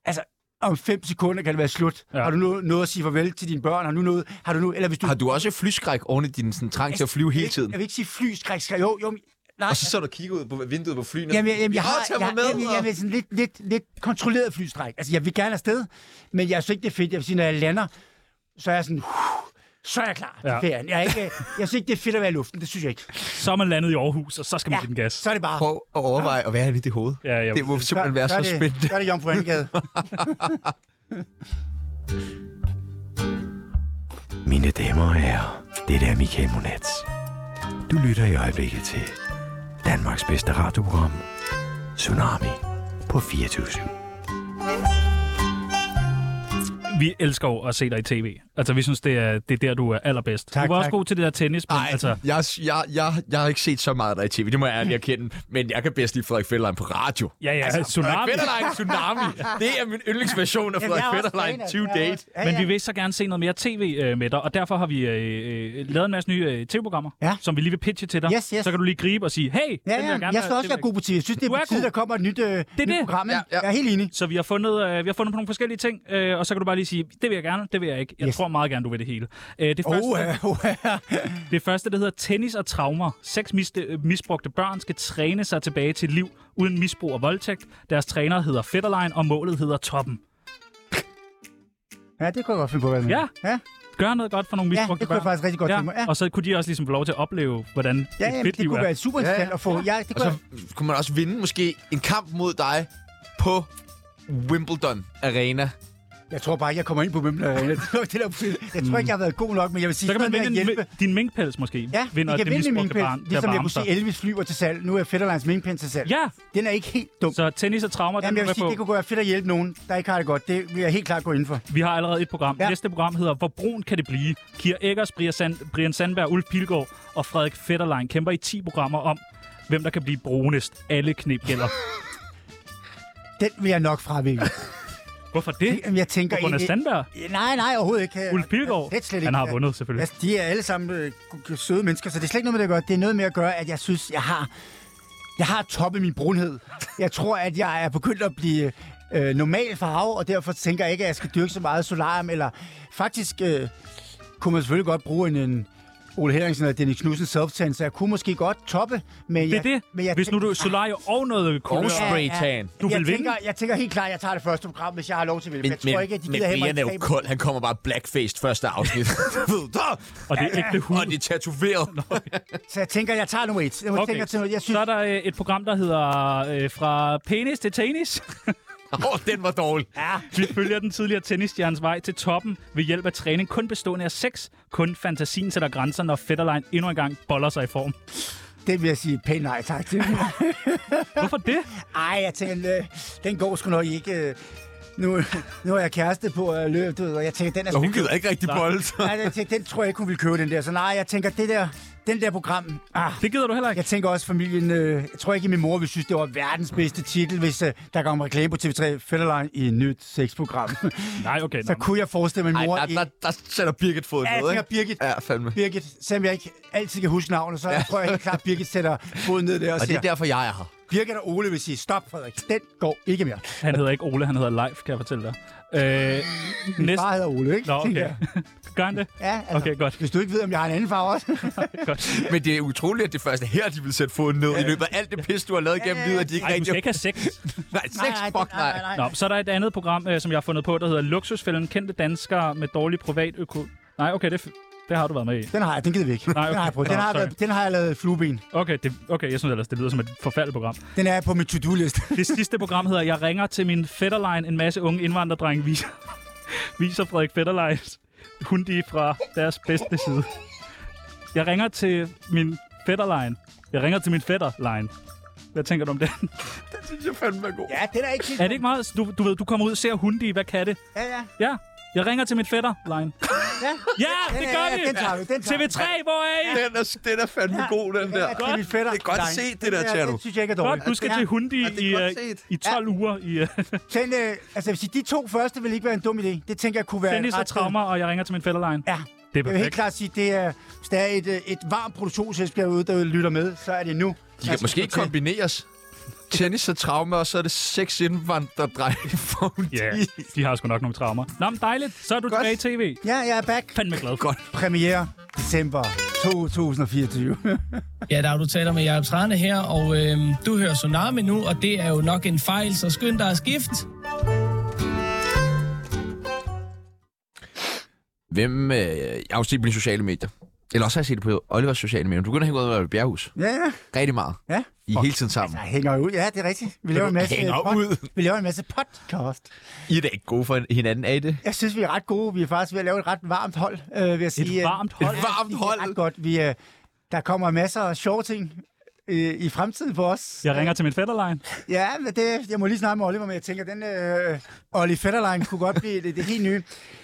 D: altså, om fem sekunder kan det være slut.
A: Ja.
D: Ja. Har du nu nået at sige farvel til dine børn? Har du nået, har du nu, eller hvis du...
B: Har du også flyskræk oven i din sådan, trang til at flyve hele tiden?
D: Jeg vil ikke sige fly, skræk, skræk. Jo, jo, men- nej.
B: Og så så du kigge ud på vinduet på flyene.
D: Jamen, jamen, jeg,
B: "Åh,
D: har,
B: tag mig
D: jeg,
B: med,
D: jeg,
B: og-
D: jeg, jeg, sådan lidt, lidt, lidt kontrolleret flystræk. Altså, jeg vil gerne afsted, men jeg synes ikke, det er fedt. Jeg vil sige, når jeg lander, så er jeg sådan, uh, så er jeg klar til
A: Ja.
D: ja. ferien. Jeg, er ikke, jeg synes ikke, det er fedt at være i luften. Det synes jeg ikke.
A: Så er man landet i Aarhus, og så skal man ja. give den gas.
D: så er det bare...
B: Prøv at overveje at være lidt i hovedet.
A: Ja, ja.
B: Det må simpelthen være
D: så er
B: så
D: det-
B: spændende.
D: Så er det Jomfru Angade.
G: Mine damer og herrer, det er Michael Monats. Du lytter i øjeblikket til Danmarks bedste radioprogram, Tsunami på 24
A: Vi elsker jo at se dig i tv. Altså, vi synes, det er, det er der, du er allerbedst.
D: Tak,
A: du var også
D: tak.
A: god til det der tennis, men
B: Ej,
A: altså...
B: jeg, jeg, jeg, jeg har ikke set så meget af dig i tv, det må jeg ærligt erkende. Men jeg kan bedst lide Frederik Fetterlein på radio.
A: Ja, ja, altså, tsunami.
B: Frederik Fetterlein Tsunami. Det er min yndlingsversion af
D: Jamen, jeg er
B: Frederik
D: også
B: Fetterlein
D: fan af-
B: 2
D: jeg er
B: Date.
D: også- Ja,
A: Men
D: ja.
A: vi vil så gerne se noget mere tv øh, med dig, og derfor har vi øh, øh, lavet en masse nye øh, tv-programmer,
D: Ja.
A: som vi lige vil pitche til dig.
D: Yes, yes.
A: Så kan du lige gribe og sige, hey, den vil
D: Ja, ja, jeg,
A: gerne
D: jeg skal
A: have-
D: også
A: det vil
D: være god på TV. Jeg synes, det er
A: Du er
D: på tide,
A: god.
D: der kommer et nyt, øh, det nyt
A: det.
D: program. Ja,
B: Ja,
D: ja.
B: ja.
D: Jeg er helt enig.
A: Så vi har fundet, øh, vi har fundet på nogle forskellige ting, øh, og så kan du bare lige sige, det vil jeg gerne, det vil jeg ikke. Jeg yes.
D: Yes.
A: tror meget gerne, du vil det hele. Øh, det, første,
D: Oh, oh,
A: det første, det hedder tennis og traumer. Seks mis- øh, misbrugte børn skal træne sig tilbage til et liv uden misbrug og voldtægt. Deres træner hedder Fetterlein, og målet hedder Toppen.
D: ja, det kunne jeg godt finde på, hvad
A: Ja.
D: ja.
A: Gør noget godt for nogle
D: Ja,
A: misbrugte
D: det kunne jeg
A: børn.
D: faktisk rigtig godt tænke mig. Ja,
A: Og så kunne de også ligesom få lov til at opleve, hvordan
D: ja
A: et
D: jamen,
A: fedt
D: det
A: liv
D: kunne
A: er.
D: være super interessant at få. Ja, det
B: Og
D: kunne jeg.
B: så kunne man også vinde måske en kamp mod dig på Wimbledon Arena.
D: Jeg tror bare, ikke, jeg kommer ind på Wimbledon Arena. Det var det, der er problemet. Jeg tror ikke, jeg har været god nok, men jeg vil sige,
A: Så kan
D: sådan med
A: man
D: at
A: vinde
D: hjælpe.
A: en, din minkpels måske.
D: Ja,
A: vinder
D: I kan
A: det
D: vinde
A: misbrugte
D: min
A: barn,
D: pins,
A: der
D: ligesom jeg
A: varmer
D: kunne se
A: sig.
D: Elvis flyver til salg. Nu er Fetterlands minkpind til salg.
A: Ja,
D: Den er ikke helt dum.
A: så tennis og traumer,
D: Jamen,
A: den
D: jeg
A: er
D: vil sige,
A: på.
D: det kunne være fedt at hjælpe nogen, der ikke har det godt. Det vil jeg helt klart gå ind for.
A: Vi har allerede et program. Ja.
D: Ja.
A: Næste program hedder Hvor brun kan det blive? Kier Eggers, Brian, Sand, Brian Sandberg, Ulf Pilgaard og Frederik Fetterlein kæmper i 10 programmer om, hvem der kan blive brunest. Alle knep gælder.
D: Den vil jeg nok fravælge.
A: Hvorfor det?
D: Jamen, jeg tænker
A: På grund af
D: ikke-
A: Sandberg?
D: Nej, nej, overhovedet ikke.
A: Ulf Pilgaard?
D: Slet, slet ikke.
A: Han har vundet, selvfølgelig.
D: Altså, de er alle sammen øh, g- g- søde mennesker, så det er slet ikke noget med det at gøre. Det er noget med at gøre, at jeg synes, jeg har, jeg har toppet min brunhed. Jeg tror, at jeg er begyndt at blive øh, normal farve, og derfor tænker jeg ikke, at jeg skal dyrke så meget solarium. Eller faktisk øh, kunne man selvfølgelig godt bruge en, en Ole Henriksen og Dennis Knudsen self så jeg kunne måske godt toppe. Men
A: Det er
D: jeg,
A: det.
D: Men jeg
A: Hvis nu
D: tænker-
A: du solarie og noget
B: Og
A: kulør.
B: spraytan.
A: Du
D: jeg
A: vil vinde.
D: tænker, Jeg tænker helt klart, at jeg tager det første program, hvis jeg har lov til det. Men, jeg tror ikke, at de
B: men
D: gider have mig
B: Brian er
D: i
B: jo
D: staben.
B: kold. Han kommer bare blackfaced første afsnit. Du ved, der!
A: Og det er ægte hud.
B: Og det er tatoveret.
D: Så jeg tænker, at jeg tager nummer et. Jeg okay. tænker til noget. Jeg synes,
A: Så er der øh, et program, der hedder øh, Fra penis til tennis.
B: Åh, den var dårlig.
A: Altså, Vi følger den tidligere tennisstjernes vej til toppen ved hjælp af træning kun bestående af sex. Kun fantasien sætter grænser, når Fetterlein endnu engang boller sig i form.
D: det vil jeg sige pænt nej tak til.
A: Hvorfor det?
D: Ej, jeg tænker, øh, den går sgu nok ikke. øh. Nu, nu har jeg kæreste på at løbe, du ved, og jeg tænker, den er
B: Og
D: sgu
B: hun gider ikke rigtig bold.
D: Nej, jeg tænker, den tror jeg ikke, hun vil købe, den der. Så nej, jeg tænker, det der, den der program, ah,
A: Det gider du heller ikke.
D: jeg tænker også, familien... Øh, jeg tror ikke, min mor ville synes, det var verdens bedste titel, hvis øh, der kom reklame på TV3 Fetterline i et nyt sexprogram.
A: Nej, okay.
D: så
A: Nå.
D: kunne jeg forestille mig,
B: Ej,
D: min mor...
B: der, der, der sætter Birgit foden
D: Ja, jeg
B: ned,
D: tænker,
B: ikke?
D: Birgit,
B: Ja, fandme.
D: Birgit, selvom jeg ikke altid kan huske navnet, så tror jeg helt klart, Birgit sætter foden ned der og,
B: Og det
D: siger,
B: er derfor, jeg er her.
D: Birgit og Ole vil sige, stop Frederik, den går ikke mere.
A: Han hedder ikke Ole, han hedder Leif, kan jeg fortælle dig. Øh, næste...
D: Bare hedder Ole, ikke?
A: Nå,
D: Tænker
A: okay.
D: jeg.
A: Gør han det?
D: Ja, altså,
A: Okay, godt.
D: Hvis du ikke ved, om jeg har en anden farve også.
A: Godt.
B: Men det er utroligt, at det første her, de vil sætte foden ned i løbet af alt det pis, du har lavet gennem livet, at de ikke
A: Ej, du
B: rigtig...
A: skal ikke have sex.
B: Nej, sex, fuck nej.
A: Nå, så er der et andet program, øh, som jeg har fundet på, der hedder Luksusfælden. Kendte danskere med dårlig privat øko... Nej, okay, det, f- det har du været med i.
D: Den har jeg, den gider vi ikke.
A: Nej,
D: Den
A: okay.
D: har jeg prøvet. Den
A: Nå,
D: har, jeg
A: sorry.
D: været- den har jeg lavet flueben.
A: Okay, det, okay jeg synes ellers, det lyder som et forfærdeligt program.
D: Den er på min to-do-list.
A: Det sidste program hedder Jeg ringer til min fætterlein. En masse unge indvandrerdrenge viser, viser Frederik Fætterleins hundi fra deres bedste side. Jeg ringer til min fætterlein. Jeg ringer til min fætterlein. Hvad tænker du om det?
B: Det synes jeg fandme er god.
D: ja, den er ikke helt...
A: Er det ikke meget? Du, du ved, du kommer ud og ser hundi. Hvad kan det?
D: Ja, ja.
A: Ja, Jeg ringer til min fætter, Line.
D: Ja.
A: Ja, det gør
D: ja,
A: vi!
D: den tager du, den tager
A: TV3, hvor er I?
B: Den er, den er fandme god, den der.
D: Det er mit fætter.
B: Det er godt
D: Nej,
B: set, det
D: den
B: der, Tjerno.
D: Det synes jeg ikke er
A: Godt,
D: dårligt.
A: du skal
D: Ja.
A: til Hundi
B: Ja, det er
A: i,
B: godt
A: øh,
B: set.
A: i 12 uger. I, øh,
D: Den, øh, altså, jeg vil sige, de to første vil ikke være en dum idé. Det tænker jeg kunne være
A: Dennis
D: en
A: og traumer, og jeg ringer til min fætter, Line.
D: Ja,
A: Det er
D: jeg vil helt
A: perfekt.
D: klart sige, det er, hvis der er et, øh, et varmt produktionsselskab ude, der lytter med, så er det nu. Altså,
B: De kan måske kombineres. Tennis og traume, og så er det seks indvandrerdrenge for
A: Ja, yeah, de har sgu nok nogle traumer. Nå, men dejligt. Så er du tilbage i tv.
D: Ja, jeg er back.
A: Fandme glad for. Godt.
D: Premiere december 2024.
H: Ja, der er du taler med Jacob Trane her, og øh, du hører Tsunami nu, og det er jo nok en fejl, så skynd dig at skifte.
B: Hvem, øh, jeg har jo set på dine sociale medier. Eller også har jeg set det på Olivers sociale medier. Du begynder at hænge ud med Bjerghus.
D: ja, ja.
B: Rigtig meget.
D: Ja.
B: I er hele tiden sammen.
D: Jeg hænger ud. Ja, det er rigtigt. Vi laver en masse, øh,
B: hænger
D: pod-
B: ud.
D: Vi laver en masse podcast.
B: Altså, I er da ikke gode for hinanden, er I det?
D: Jeg synes, vi er ret gode. Vi er faktisk ved at lave et ret varmt hold, øh, vil jeg sige.
A: Et varmt hold.
B: Et varmt
D: Det er
B: hold.
D: ret godt. Vi, øh, der kommer masser af sjove ting øh, i fremtiden for os.
A: Jeg ringer til min fætter, Line.
D: Ja, men det, jeg må lige snakke med Oliver, men jeg tænker, den øh, Olli Fetterlein kunne godt blive det, det helt nye.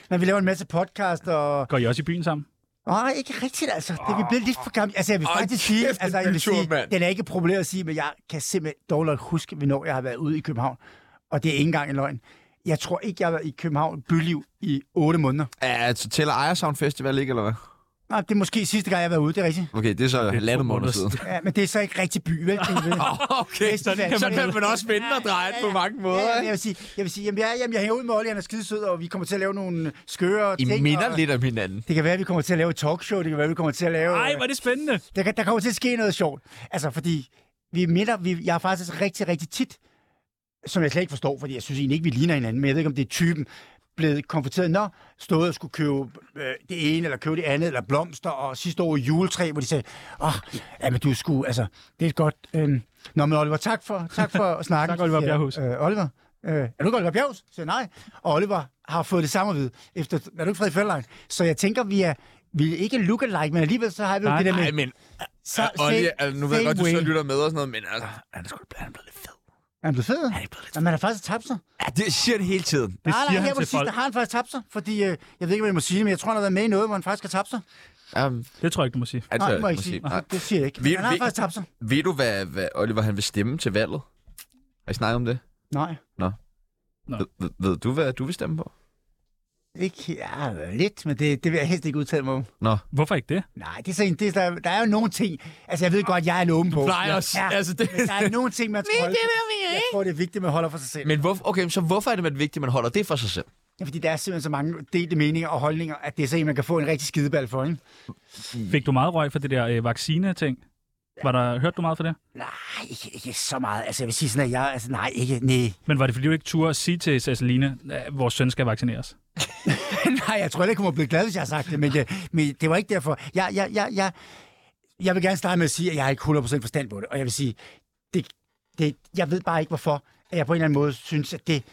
D: Men vi laver en masse podcast, og...
A: Går I også i byen sammen?
D: Åh, ikke rigtigt, altså. Det er vi blevet lidt for gamle. Altså, jeg vil
B: Åh,
D: faktisk sige...
B: kæft,
D: Altså,
B: en
D: jeg vil
B: bytur,
D: sige,
B: mand.
D: den er ikke problemet at sige, men jeg kan simpelthen dårligt huske, hvornår jeg har været ude i København. Og det er ikke engang en løgn. Jeg tror ikke, jeg har været i København byliv i 8 måneder.
B: Ja, så tæller Ejersound Festival ikke, eller hvad?
D: Nej, det er måske sidste gang, jeg har været ude, det er rigtigt.
B: Okay, det er så halvandet måned
A: måneder
B: siden.
D: Ja, men det er så ikke rigtig by, vel? Det er vel-
B: Ah, okay,
D: så kan man-
B: også vende og dreje det på mange
D: Ja, ja, men jeg vil sige, jeg, vil sige jamen, jeg, jamen, jeg hænger ud med Olli, han er skidesød, og vi kommer til at lave nogle skøre
B: I
D: ting.
B: minder
D: og,
B: lidt om hinanden.
D: Det kan være, at vi kommer til at lave et talkshow. Det kan være, at vi kommer til at lave...
A: Ej,
D: øh,
A: hvor er det spændende.
D: der, kan- der kommer til at ske noget sjovt. Altså, fordi vi minder... Vi, jeg er faktisk rigtig, rigtig tit, som jeg slet ikke forstår, fordi jeg synes egentlig ikke, vi ligner hinanden, men jeg ved ikke, om det er typen, blevet konfronteret, når stod og skulle købe øh, det ene, eller købe det andet, eller blomster, og sidste år i juletræ, hvor de sagde, åh, oh, ja, men du skulle, altså, det er et godt... Øh... Nå, men Oliver, tak for, tak for snakken.
A: Tak, Oliver
D: siger jeg.
A: Bjerghus.
D: Øh, Oliver, øh, er du ikke Oliver Bjerghus? Så nej. Og Oliver har fået det samme at vide. Efter, er du ikke Frederik Fællein? Så jeg tænker, vi er, vi er ikke lookalike, men alligevel så har vi jo
A: Nej,
D: det der med...
B: Nej, men
D: så,
B: Olli,
D: same-
B: altså, nu ved jeg
D: same
B: godt, du så
D: way.
B: lytter med og sådan noget, men altså, han er sgu han er blevet lidt fed.
D: Er han blevet fed?
B: Han er blevet lidt
D: Ja, man har faktisk tabt sig.
B: Ja, det siger det hele tiden.
A: Det
D: nej,
A: siger
D: nej,
A: han
D: her
A: til
D: på det sidste
A: folk.
D: har han faktisk tabt sig, fordi øh, jeg ved ikke, hvad jeg må sige, men jeg tror, han har været med i noget, hvor han faktisk har tabt sig.
B: Um,
A: Det tror jeg ikke, du må sige.
B: altså,
D: Nej, det må jeg
B: må
D: ikke sige.
B: sige, nej.
D: Det siger jeg ikke.
B: Vi-
D: Vi, han har
B: vi-
D: faktisk tabt sig.
B: Ved du, hvad, hvad Oliver han vil stemme til valget? Har I snakket om det?
D: Nej,
A: Nå.
B: Ved, ved, ved du, hvad du vil stemme på?
D: ikke ja, lidt, men det, det vil jeg helst ikke udtale mig om.
A: Hvorfor ikke det?
D: Nej, det er sådan, det, er- der, der er jo nogle ting. Altså, jeg ved godt, jeg er en åben på.
B: plejer
D: ja,
B: at sige- altså, det-
D: men der er nogle ting, man skal holde. Det jeg, jeg tror, det er vigtigt, at man holder for sig selv. Men...
B: Men hvorfor, okay, så hvorfor er det man vigtigt, at man holder det for sig selv?
D: Ja, fordi der er simpelthen så mange delte meninger og holdninger, at det er sådan, man kan få en rigtig skideball for, ikke?
A: Fik du meget røg for det der øh, vaccine-ting? Var der, hørte du meget for det?
D: Nej, ikke, ikke så meget. Altså, jeg vil sige sådan, at jeg... Altså, nej, ikke, nej.
A: Men var det, fordi du ikke turde at sige til Ceciline, at vores søn skal vaccineres?
D: Nej, jeg tror heller ikke, hun var blevet glad, hvis jeg har sagt det, men det, men det var ikke derfor. Jeg, jeg, jeg, jeg, jeg vil gerne starte med at sige, at jeg har ikke 100% forstand på det, og jeg vil sige, det, det, jeg ved bare ikke, hvorfor at jeg på en eller anden måde synes, at det...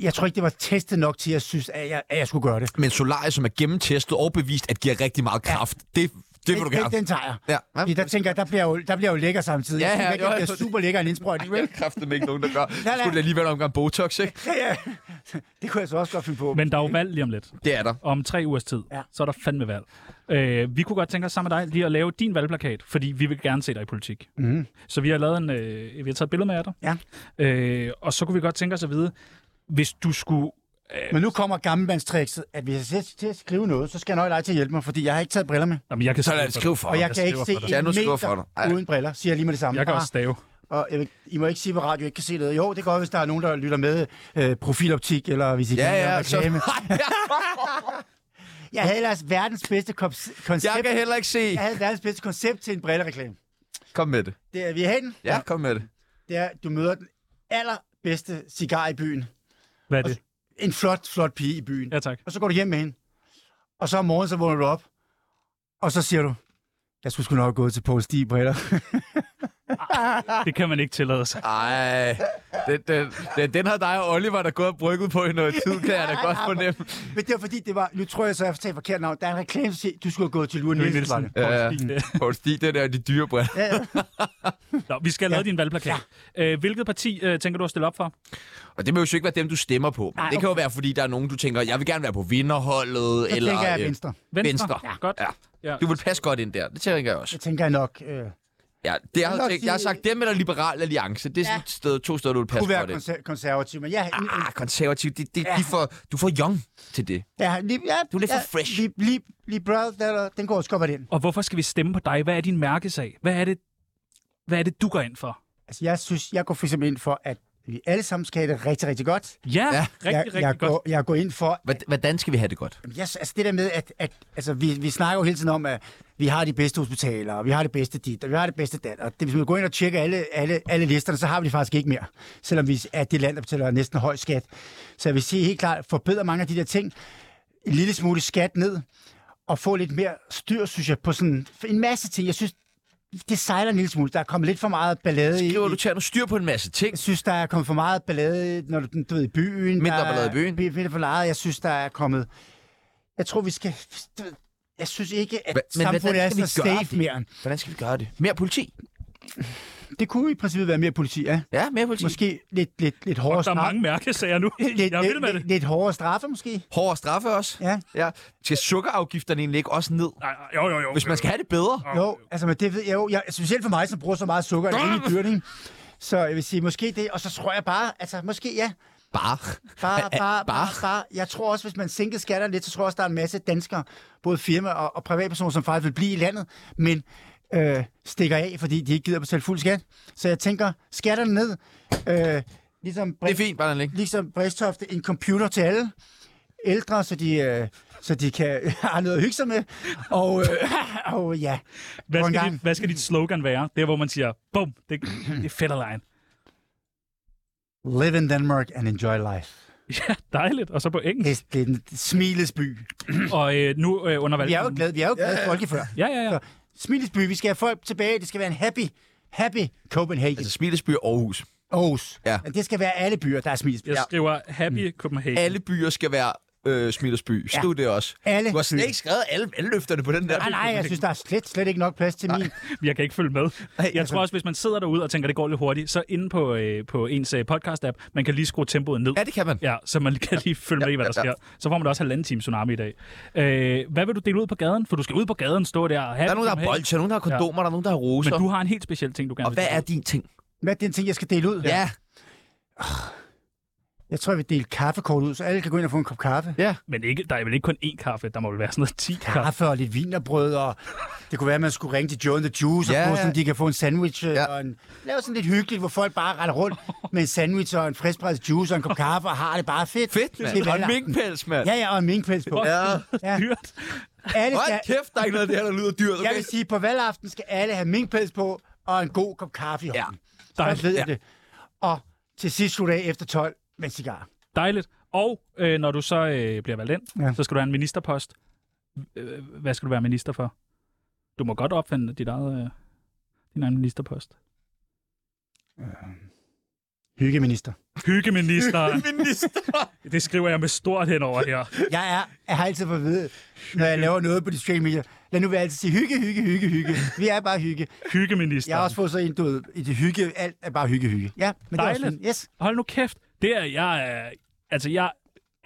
D: Jeg tror ikke, det var testet nok til, at jeg synes, at jeg, at jeg skulle gøre det.
B: Men Solaris, som er gennemtestet og bevist, at giver rigtig meget kraft, det, det vil du
D: Den-
B: gerne.
D: Den, den tager jeg.
B: Ja, ja.
D: Fordi der tænker jeg, der bliver jo, der bliver jo lækker samtidig.
B: Ja,
D: jeg
B: ja,
D: synes ikke,
B: jo,
D: at det
B: jo,
D: bliver
B: det-
D: super lækker en indsprøjtning. vel?
B: er kraftigt ikke nogen, der gør.
D: nej.
B: Skulle det alligevel omgang Botox, ikke?
D: Ja, ja. Det kunne jeg så også godt finde på.
A: Men der er jo valg lige om lidt.
B: Det er der.
A: Om tre ugers tid, ja.
D: Ja.
A: så er der fandme valg. Øh, vi kunne godt tænke os sammen med dig lige at lave din valgplakat, fordi vi vil gerne se dig i politik.
D: Mhm.
A: Så vi har lavet en, øh, vi har taget et billede med af dig.
D: Ja.
A: Øh, og så kunne vi godt tænke os at vide, hvis du skulle...
D: Men nu kommer gammelmandstrikset, at hvis jeg skal til at skrive noget, så skal jeg nok have dig til at hjælpe mig, fordi jeg har ikke taget briller med.
A: Jamen, jeg kan
B: Så lad os
A: skrive for
B: skrive for
D: Og
B: dig.
D: jeg kan ikke se
A: skriver for dig.
D: en
B: Janus skriver for dig.
D: meter
B: Ej.
D: uden briller, siger jeg lige med det
A: dig.
D: samme.
A: Jeg kan også
D: Bare-
A: stave.
D: og jeg vil, I må ikke sige på radio, I ikke kan se det. Jo, det går, hvis der er nogen, der lytter med øh, profiloptik, eller hvis I
B: Ja,
D: kan lave
B: ja, så...
D: reklame. Jeg havde ellers verdens bedste kop- koncept.
B: jeg kan heller ikke se.
D: jeg havde verdens bedste koncept til en brillereklame.
B: Kom med det.
D: Det er, vi er hen.
B: Ja, kom med det.
D: Det er, du møder den allerbedste cigar i byen.
A: Hvad er det?
D: En flot, flot pige i byen.
A: Ja, tak.
D: Og så går du hjem med hende. Og så om morgenen, så vågner du op. Og så siger du, jeg skulle sgu nok have gået til Poul Stig briller.
A: Det kan man ikke tillade sig.
B: Ej, den, den, den, den har dig og Oliver, der gået og brygget på i noget tid, kan jeg da godt fornemme.
D: Men det var fordi, det var, nu tror jeg så, jeg har fortalt forkert navn. Der er en reklame, der siger, du skulle have gået til Lure Nielsen. var det.
A: Poul Stig.
B: Poul Stig, det der, de dyre briller.
D: Ja, ja.
A: Nå, vi skal have lavet din valgplakat. Ja. Hvilket parti øh, tænker du at stille op for?
B: Og det må jo ikke være dem, du stemmer på. Nej,
D: Nej,
B: okay. Det kan jo være, fordi der er nogen, du tænker, jeg vil gerne være på vinderholdet.
D: Jeg
B: eller,
D: tænker jeg
B: øh,
D: Venstre.
B: Venstre.
A: Ja. Godt.
B: Ja.
A: Ja.
B: Du vil passe godt ind der. Det tænker jeg også.
D: Jeg tænker jeg nok, øh,
B: Ja, det har jeg,
D: vil nok
B: tænkt, jeg har
D: sige-
B: sagt dem eller Liberal Alliance. Det er sådan et sted, to steder, du vil passe
D: kunne være
B: godt ind.
D: konser- konservativ, men øh, jeg,
B: Ah, konservativ. Det, det,
D: Ja.
B: de er for, du er for young til det.
D: jeg, lige, ja,
B: Du er lidt for
D: ja,
B: fresh.
D: Lige, lige, lige brød, der, der, den går også godt ind.
A: Og hvorfor skal vi stemme på dig? Hvad er din mærkesag? Hvad er det, hvad er det du går ind for?
D: Altså, jeg synes, jeg går for eksempel ind for, at vi alle sammen skal have det rigtig, rigtig godt.
A: Ja, ja. rigtig,
D: jeg,
A: rigtig
D: jeg,
A: godt.
D: Går, jeg går ind for,
B: Hverd- Hvordan skal vi have det godt?
D: Jamen, Yes, altså det der med, at, at altså, vi, vi snakker jo hele tiden om, at vi har de bedste hospitaler, og vi har det bedste dit, og vi har det bedste dat. Og det, hvis man går ind og tjekker alle, alle, alle listerne, så har vi det faktisk ikke mere. Selvom vi er det land, der betaler næsten høj skat. Så jeg vil sige helt klart, forbedre mange af de der ting. En lille smule skat ned, og få lidt mere styr, synes jeg, på sådan for en masse ting. Jeg synes, det sejler en lille smule. Der er kommet lidt for meget ballade i.
B: Skriver du
D: Jeg
B: til at have noget styr på en masse ting?
D: synes, der er kommet for meget ballade, i- når du, du ved, i byen.
B: Mindre
D: der er-
B: ballade i byen.
D: bi- Mindre ballade. Jeg synes, der er kommet jeg tror, vi skal... Jeg synes ikke, at
B: Hva- men
D: men, samfundet
B: hvordan
D: er
B: skal
D: så
B: vi gøre
D: safe
B: det?
D: mere.
B: Hvordan skal vi gøre det? Mere politi?
D: Det kunne i princippet være mere politi, ja.
B: Ja, mere politi. Måske.
D: Måske lidt, lidt, lidt hårdere
A: Der er
D: straf.
A: mange mærkesager nu. Jeg
D: Lidt,
A: er vild med
D: lidt,
A: det.
D: lidt, lidt hårdere straffe, måske.
B: Hårdere straffe også?
D: Ja.
B: ja. Skal sukkerafgifterne egentlig ikke også ned?
A: Nej, jo, jo, jo.
B: Hvis man skal have det bedre?
D: Jo, altså, men det ved jeg jo. Jeg, specielt for mig, som bruger så meget sukker, er det egentlig dyrt, ikke? Så jeg vil sige, måske det, og så tror jeg bare, altså måske ja,
B: Bare.
D: bare, bare,
B: bare.
D: bare, bare. Jeg tror også, hvis man sænkede skatter lidt, så tror jeg også, der er en masse danskere, både firmaer og, og privatpersoner, som faktisk vil blive i landet, men øh, stikker af, fordi de ikke gider betale fuld skat. Så jeg tænker, skatterne ned, øh, ligesom
B: Det er fint, bare den ligge.
D: ligesom Bristofte, en computer til alle ældre, så de, øh, så de kan have noget at hygge sig med. Og, øh, og ja,
A: Hvad
D: på en
A: skal,
D: gang.
A: dit, hvad skal dit slogan være? Det er, hvor man siger, bum, det, det er fedt alene.
D: Live in Denmark and enjoy life.
A: Ja, dejligt. Og så på engelsk.
D: Det det er en smilets by.
A: Og øh, nu øh, under
D: Vi er jo
A: valgkampen.
D: glade, vi er jo glade yeah. folkefør.
A: Ja, ja, ja.
D: Smilets by, vi skal have folk tilbage. Det skal være en happy, happy Copenhagen.
B: Altså Smilesby og Aarhus.
D: Aarhus.
B: Ja.
D: Men Det skal være alle byer, der er smilets by.
A: Jeg skriver Happy Copenhagen.
B: Alle byer skal være øh, Smilesby. Skriv det også.
D: Alle
B: Du har slet
D: byer.
B: ikke skrevet alle, alle løfterne på den der.
D: Nej, Ah, altså, nej, jeg synes, der er slet, slet ikke nok plads til min.
A: Jeg kan ikke følge med.
B: Ej,
A: Jeg
B: altså-
A: tror også, hvis man sidder derude og tænker, det går lidt hurtigt, så inde på, øh, på ens øh, podcast-app, man kan lige skrue tempoet ned.
B: Ja, det kan man.
A: Ja, så man kan lige følge med i, hvad der
B: ja, ja.
A: sker. Så får man også halvanden time tsunami i dag. Øh, hvad vil du dele ud på gaden? For du skal ud på gaden, stå der og have...
B: Der er nogen, der har bolcher, nogen, der har kondomer, der er nogen, der har roser.
A: Men du har en helt speciel ting, du gerne
B: Og
A: vil
B: hvad
A: dele
B: er
A: ud.
B: din ting?
D: Hvad er den ting, jeg skal dele ud?
B: Ja.
D: Jeg tror, jeg vil dele kaffekort ud, så alle kan gå ind og få en kop kaffe.
A: Men ikke, der er vel ikke kun én kaffe, der må vel være sådan noget 10 kaffe.
D: kaffe og lidt vinerbrød, og det kunne være, at man skulle ringe til Joe and the Juice,
B: Ja,
D: ja, og få
B: ja.
D: sådan, de kan få en sandwich.
B: Ja.
D: Ja. Og en, lave sådan lidt hyggeligt, hvor folk bare retter rundt med en sandwich og en friskpresset juice og en kop kaffe, og har det bare fedt.
B: Fedt,
D: Det er
B: mand. Og en
D: valgaften.
B: minkpels, mand.
D: Ja, ja, og en minkpels på.
A: Ja.
D: Ja.
A: Dyrt.
D: Alle
B: Hold
D: skal,
B: kæft, der er ikke noget af det her, der lyder dyrt.
D: jeg
B: Okay?
D: vil sige, på valgaften skal alle have minkpels på og en god kop kaffe i
B: Ja.
D: hånden. Ja. Så ved jeg det. Og til sidst slutter jeg efter 12 med en cigar.
A: Dejligt. Og øh, når du så øh, bliver valgt ind, ja.
D: Ja.
A: så skal du have en ministerpost. Øh, hvad skal du være minister for? Du må godt opfinde dit eget, øh, din egen ministerpost.
D: Hyggeminister.
A: Hyggeminister. det skriver jeg med stort henover her.
D: Jeg er, jeg har altid fået at vide, når jeg laver noget på de streaming medier, lad nu være altid sige hygge, hygge, hygge, hygge. Vi er bare hygge.
A: Hyggeminister.
D: Jeg har også fået så en, du ved, i det hygge, alt er bare hygge, hygge. Ja, men det er også
A: Dejligt.
D: fint. Yes.
A: Hold nu kæft. Det er jeg... Øh, altså, jeg er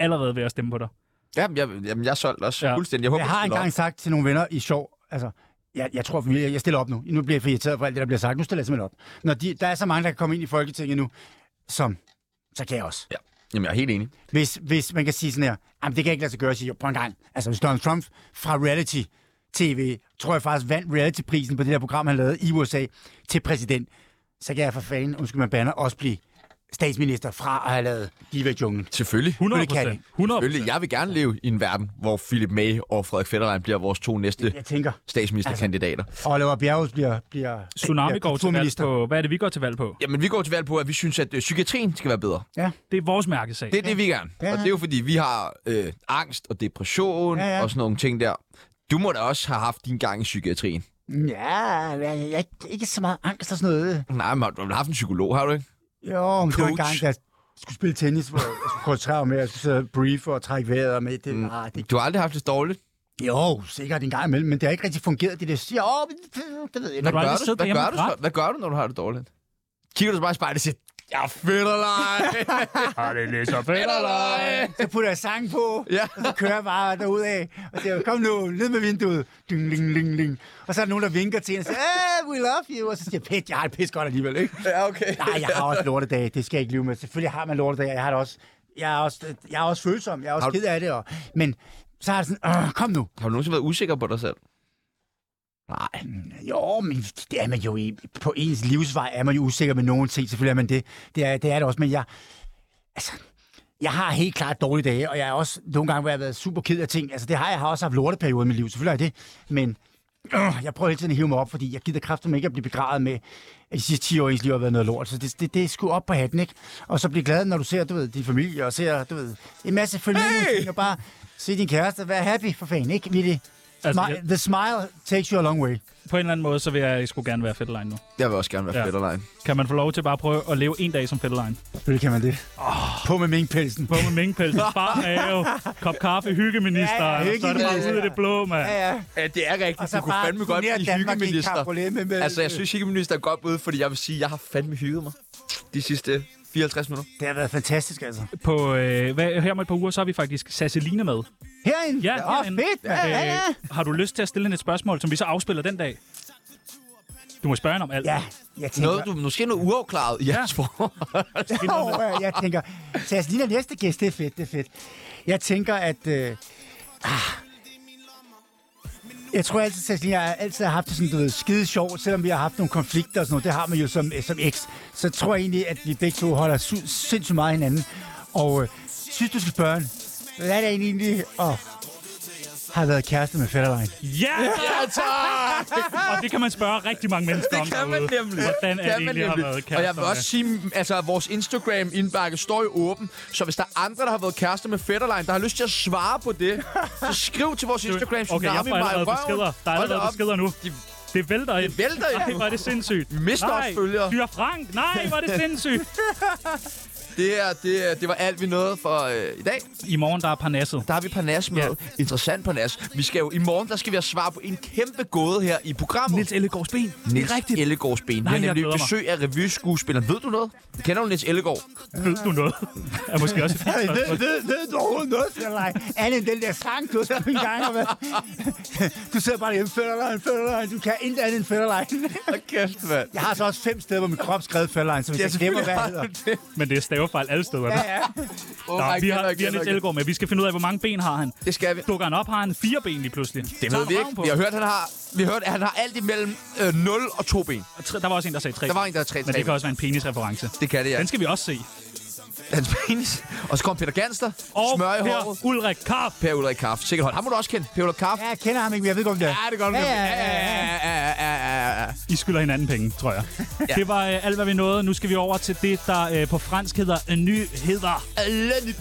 A: allerede ved at stemme på dig.
B: Jamen, jeg, jamen, jeg er solgt også
A: Ja.
B: ja. fuldstændig. Jeg, håber,
D: Jeg har
B: du stiller
D: engang sagt til nogle venner i sjov, altså, jeg, jeg tror, jeg, jeg stiller op nu. Nu bliver jeg for irriteret for alt det, der bliver sagt. Nu stiller jeg simpelthen op. Når de, der er så mange, der kan komme ind i Folketinget nu, som, så kan jeg også.
B: op. Jamen, jeg er helt enig.
D: Hvis, hvis man kan sige sådan her, jamen det kan ikke lade sig gøre, at sige, jo, prøv en gang. Altså, hvis Donald Trump fra reality tv, tror jeg faktisk vandt reality-prisen på det der program, han lavede i USA til præsident, så kan jeg for fanden, undskyld man banner, også blive statsminister fra at have lavet Diva i junglen.
B: Selvfølgelig.
A: 100
D: Selvfølgelig kan
A: procent. 100
B: Selvfølgelig. Jeg vil gerne leve i en verden, hvor Philip May og Frederik Fetterlein bliver vores to næste
D: Jeg tænker,
B: statsministerkandidater.
D: Oliver Bjerghus bliver, bliver
A: Tsunami
D: bliver
A: går til valg
D: kulturminister.
A: på... Hvad er det, vi går til valg på?
B: Jamen, vi går til valg på, at vi synes, at øh, psykiatrien skal være bedre.
A: Det er vores mærkesag.
B: Det er det, vi gerne.
D: Ja.
B: Og det er jo, fordi vi har øh, angst og depression ja,
D: Ja,
B: ja.
D: ja.
B: og sådan nogle ting der. Du må da også have haft din gang i psykiatrien.
D: Ja, jeg, jeg, ikke så meget angst og sådan noget.
B: Nej, men har du har haft en psykolog, har du ikke?
D: Jo, men det var en
B: Coach.
D: gang, da jeg skulle spille tennis, hvor jeg skulle koncentrere mig med, at jeg skulle sidde og briefe og trække vejret med. Det, mm. ah, det,
B: Du har aldrig haft det dårligt.
D: Jo, sikkert en gang imellem, men det har ikke rigtig fungeret, det der siger, åh, men det ved jeg
B: Hvad
A: du
B: gør,
A: aldrig
B: du,
A: siddet
B: hvad,
A: derhjemme
B: gør
A: og
B: du,
A: grædt?
B: så? hvad gør du, når du har det dårligt? Kigger du så bare i spejlet og siger, jeg er fedt eller ej?
A: Har det lidt så
B: Fedt eller ej?
D: Så putter jeg sang på,
B: Ja.
D: ja. og så kører jeg bare derudad. Og siger, kom nu, ned med vinduet. Ding, ding, ding, ding. Og så er der nogen, der vinker til en og siger, hey, we love you. Og så siger jeg, pæt, jeg har det pis godt alligevel, ikke?
B: Ja, okay.
D: Nej, jeg har også lortedage, det skal jeg ikke lyve med. Selvfølgelig har man lortedage, jeg har det også. Jeg er også, jeg er også følsom, jeg er også
B: Har du-
D: ked af det. Og, men så er det sådan, "Åh, kom nu.
B: Har du nogensinde været usikker på dig selv? Nej.
D: Jo, men det er man jo i. På ens livsvej er man jo usikker med nogen ting. Selvfølgelig er man det. Det er det, er det også, men jeg... Altså, jeg har helt klart dårlige dage, og jeg er også nogle gange, hvor jeg har været super ked af ting. Altså, det har jeg. jeg har også haft lorteperioder i mit liv, selvfølgelig har jeg det. Men øh, jeg prøver hele tiden at hive mig op, fordi jeg gider kraftigt ikke at blive begravet med, at de sidste 10 år i ens liv har været noget lort. Så det, det, det er sgu op på hatten, ikke? Og så blive glad, når du ser, du ved, din familie, og ser, du ved, en masse familie, hey! og bare se din kæreste, være happy for fanden, ikke? Vittig?
A: Altså,
D: Smile,
A: jeg-
D: the smile takes you a long way.
A: På en eller anden måde, så vil jeg sgu gerne være Fetterlein nu.
B: Jeg vil også gerne være
A: Ja.
B: ja. fedt eller ej.
A: Kan man få lov til bare at prøve at leve en dag som Fetterlein?
D: Selvfølgelig kan man det. Oh. På med minkpelsen.
A: På med minkpels, bar mave, kop kaffe, hyggeminister.
D: Ja,
A: Ja,
D: ja,
A: ja, så er det bare
D: hyggeminister.
A: ud af det blå, mand.
D: Ja, ja.
B: Ja, det er rigtigt.
D: Og så bare turnere Danmark i cabriolet med- med-
B: Altså, jeg synes, hyggeminister er godt ude, fordi jeg vil sige, at jeg har fandme hygget mig de sidste 54 minutter.
D: Det har været fantastisk, altså.
A: På, øh, hvad, her om et par uger, så har vi faktisk Sasseline med.
D: Herinde?
A: Ja,
D: Åh,
A: herinde.
D: fedt, mand. Ja, ja.
A: Øh, har du lyst til at stille hende et spørgsmål, som vi så afspiller den dag? Du må spørge hende om alt.
D: Ja, jeg tænker...
B: Noget, du måske noget uafklaret i jeres forhold.
D: Jo, øh, jeg tænker... Så jeg ligner næste gæst, det er fedt, det er fedt. Jeg tænker, at... Øh, ah, jeg tror altid, at jeg har altid har haft det sådan, du ved, skide sjovt, selvom vi har haft nogle konflikter og sådan noget. Det har man jo som, som eks. Så tror jeg egentlig, at vi begge to holder su- sindssygt meget af hinanden. Og øh, synes, du skal spørge hende, hvad er det egentlig, og har været kæreste med Fetterlein?
A: Ja! ja tak! Og det kan man spørge rigtig mange mennesker om
B: Det kan man
A: derude.
B: nemlig.
A: Hvordan
B: Det
A: er det
B: kan man
A: egentlig, har
B: nemlig.
A: været
B: Og jeg vil
A: kærester
B: også sige, altså vores Instagram-indbakke står jo åben, så hvis der er andre, der har været kærester med Fetterlein, der har lyst til at svare på det, så skriv til vores Instagram.
A: Okay, jeg
B: Tsunami
A: får
B: mig i
A: allerede
B: røven.
A: beskeder. Der er
B: Hold da
A: allerede
B: op.
A: beskeder nu.
B: De
A: Det vælter ind.
B: Det vælter ind.
A: Nej, hvor er det sindssygt. Vi
B: mister
A: Nej,
B: også følgere.
A: Fyre Frank. Nej, hvor er det sindssygt.
B: Det, er, det, er, det var alt, vi nåede for øh, i dag.
A: I morgen, der er Parnasset.
B: Der har vi Parnas med.
A: Ja.
B: Interessant Parnas. Vi skal jo i morgen, der skal vi have svar på en kæmpe gåde her i programmet.
A: Nils Ellegaards ben. Det
B: Niels
A: er rigtigt.
B: Ellegaards
A: Nej,
B: ben. Nej, vi
A: jeg
B: har nemlig
A: glæder mig.
B: besøg af revyskuespilleren. Ved du noget? Kender du Niels Ellegaard?
A: Ved du noget? er måske også et fint
D: Ved,
A: spørgsmål.
D: ved, ved du overhovedet noget, Federlein? Andet end den der sang, du har skrevet en gang. Og hvad? Du sidder bare derhjemme, Federlein, Federlein. Du kan intet andet end Federlein.
B: Hold kæft, mand.
D: Jeg har så også fem steder på min krop skrevet Federlein, så hvis jeg glemmer, hvad jeg hedder.
A: Men det er stavefejl alle steder.
D: Ja, ja.
B: Oh
A: Nå,
B: my
A: vi
B: God,
A: har,
B: okay,
A: vi har Niels
B: okay.
A: Ellegaard med. Vi skal finde ud af, hvor mange ben har han.
B: Det skal vi.
A: Dukker han op, har han fire ben lige pludselig.
B: Det
A: Tager
B: ved vi
A: han
B: ikke.
A: røven på?
B: Vi har hørt, han har, vi har hørt, at han har alt imellem øh, 0 og 2 ben.
A: Og tre- Der var også en, der sagde tre.
B: Der var en, der havde tre-
A: Men
B: tre
A: det kan også være en penisreference.
B: Det kan det, ja.
A: Den skal vi også se.
B: Hans penis. Og så kom Peter Ganster.
A: Og
B: smør i
A: Per
B: håret.
A: Ulrik Karp.
B: Per Ulrik Kaff. Sikkert hold. Ham må du også kende. Per Ulrik Kaff.
D: ja, jeg kender ham ikke, men jeg ved godt, hvem det er.
B: Ja, det gør du.
D: Ja, ja,
B: nemlig.
D: ja, ja, ja.
B: ja, ja, ja, ja, ja.
A: I skylder hinanden penge, tror jeg. ja. Det var øh, alt, hvad vi nåede. Nu skal vi over til det, der øh, på fransk hedder øh, nyheder.
B: Lennip.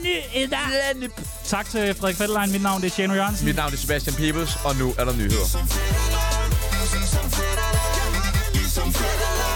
A: Nyheder!
B: Lennip.
A: Tak til Frederik Fetterlein. Mit navn det er Tjano Jørgensen.
B: Mit navn er Sebastian Peebles, og nu er der nyheder.
C: Som fætter, ligesom fætter, ligesom fætter.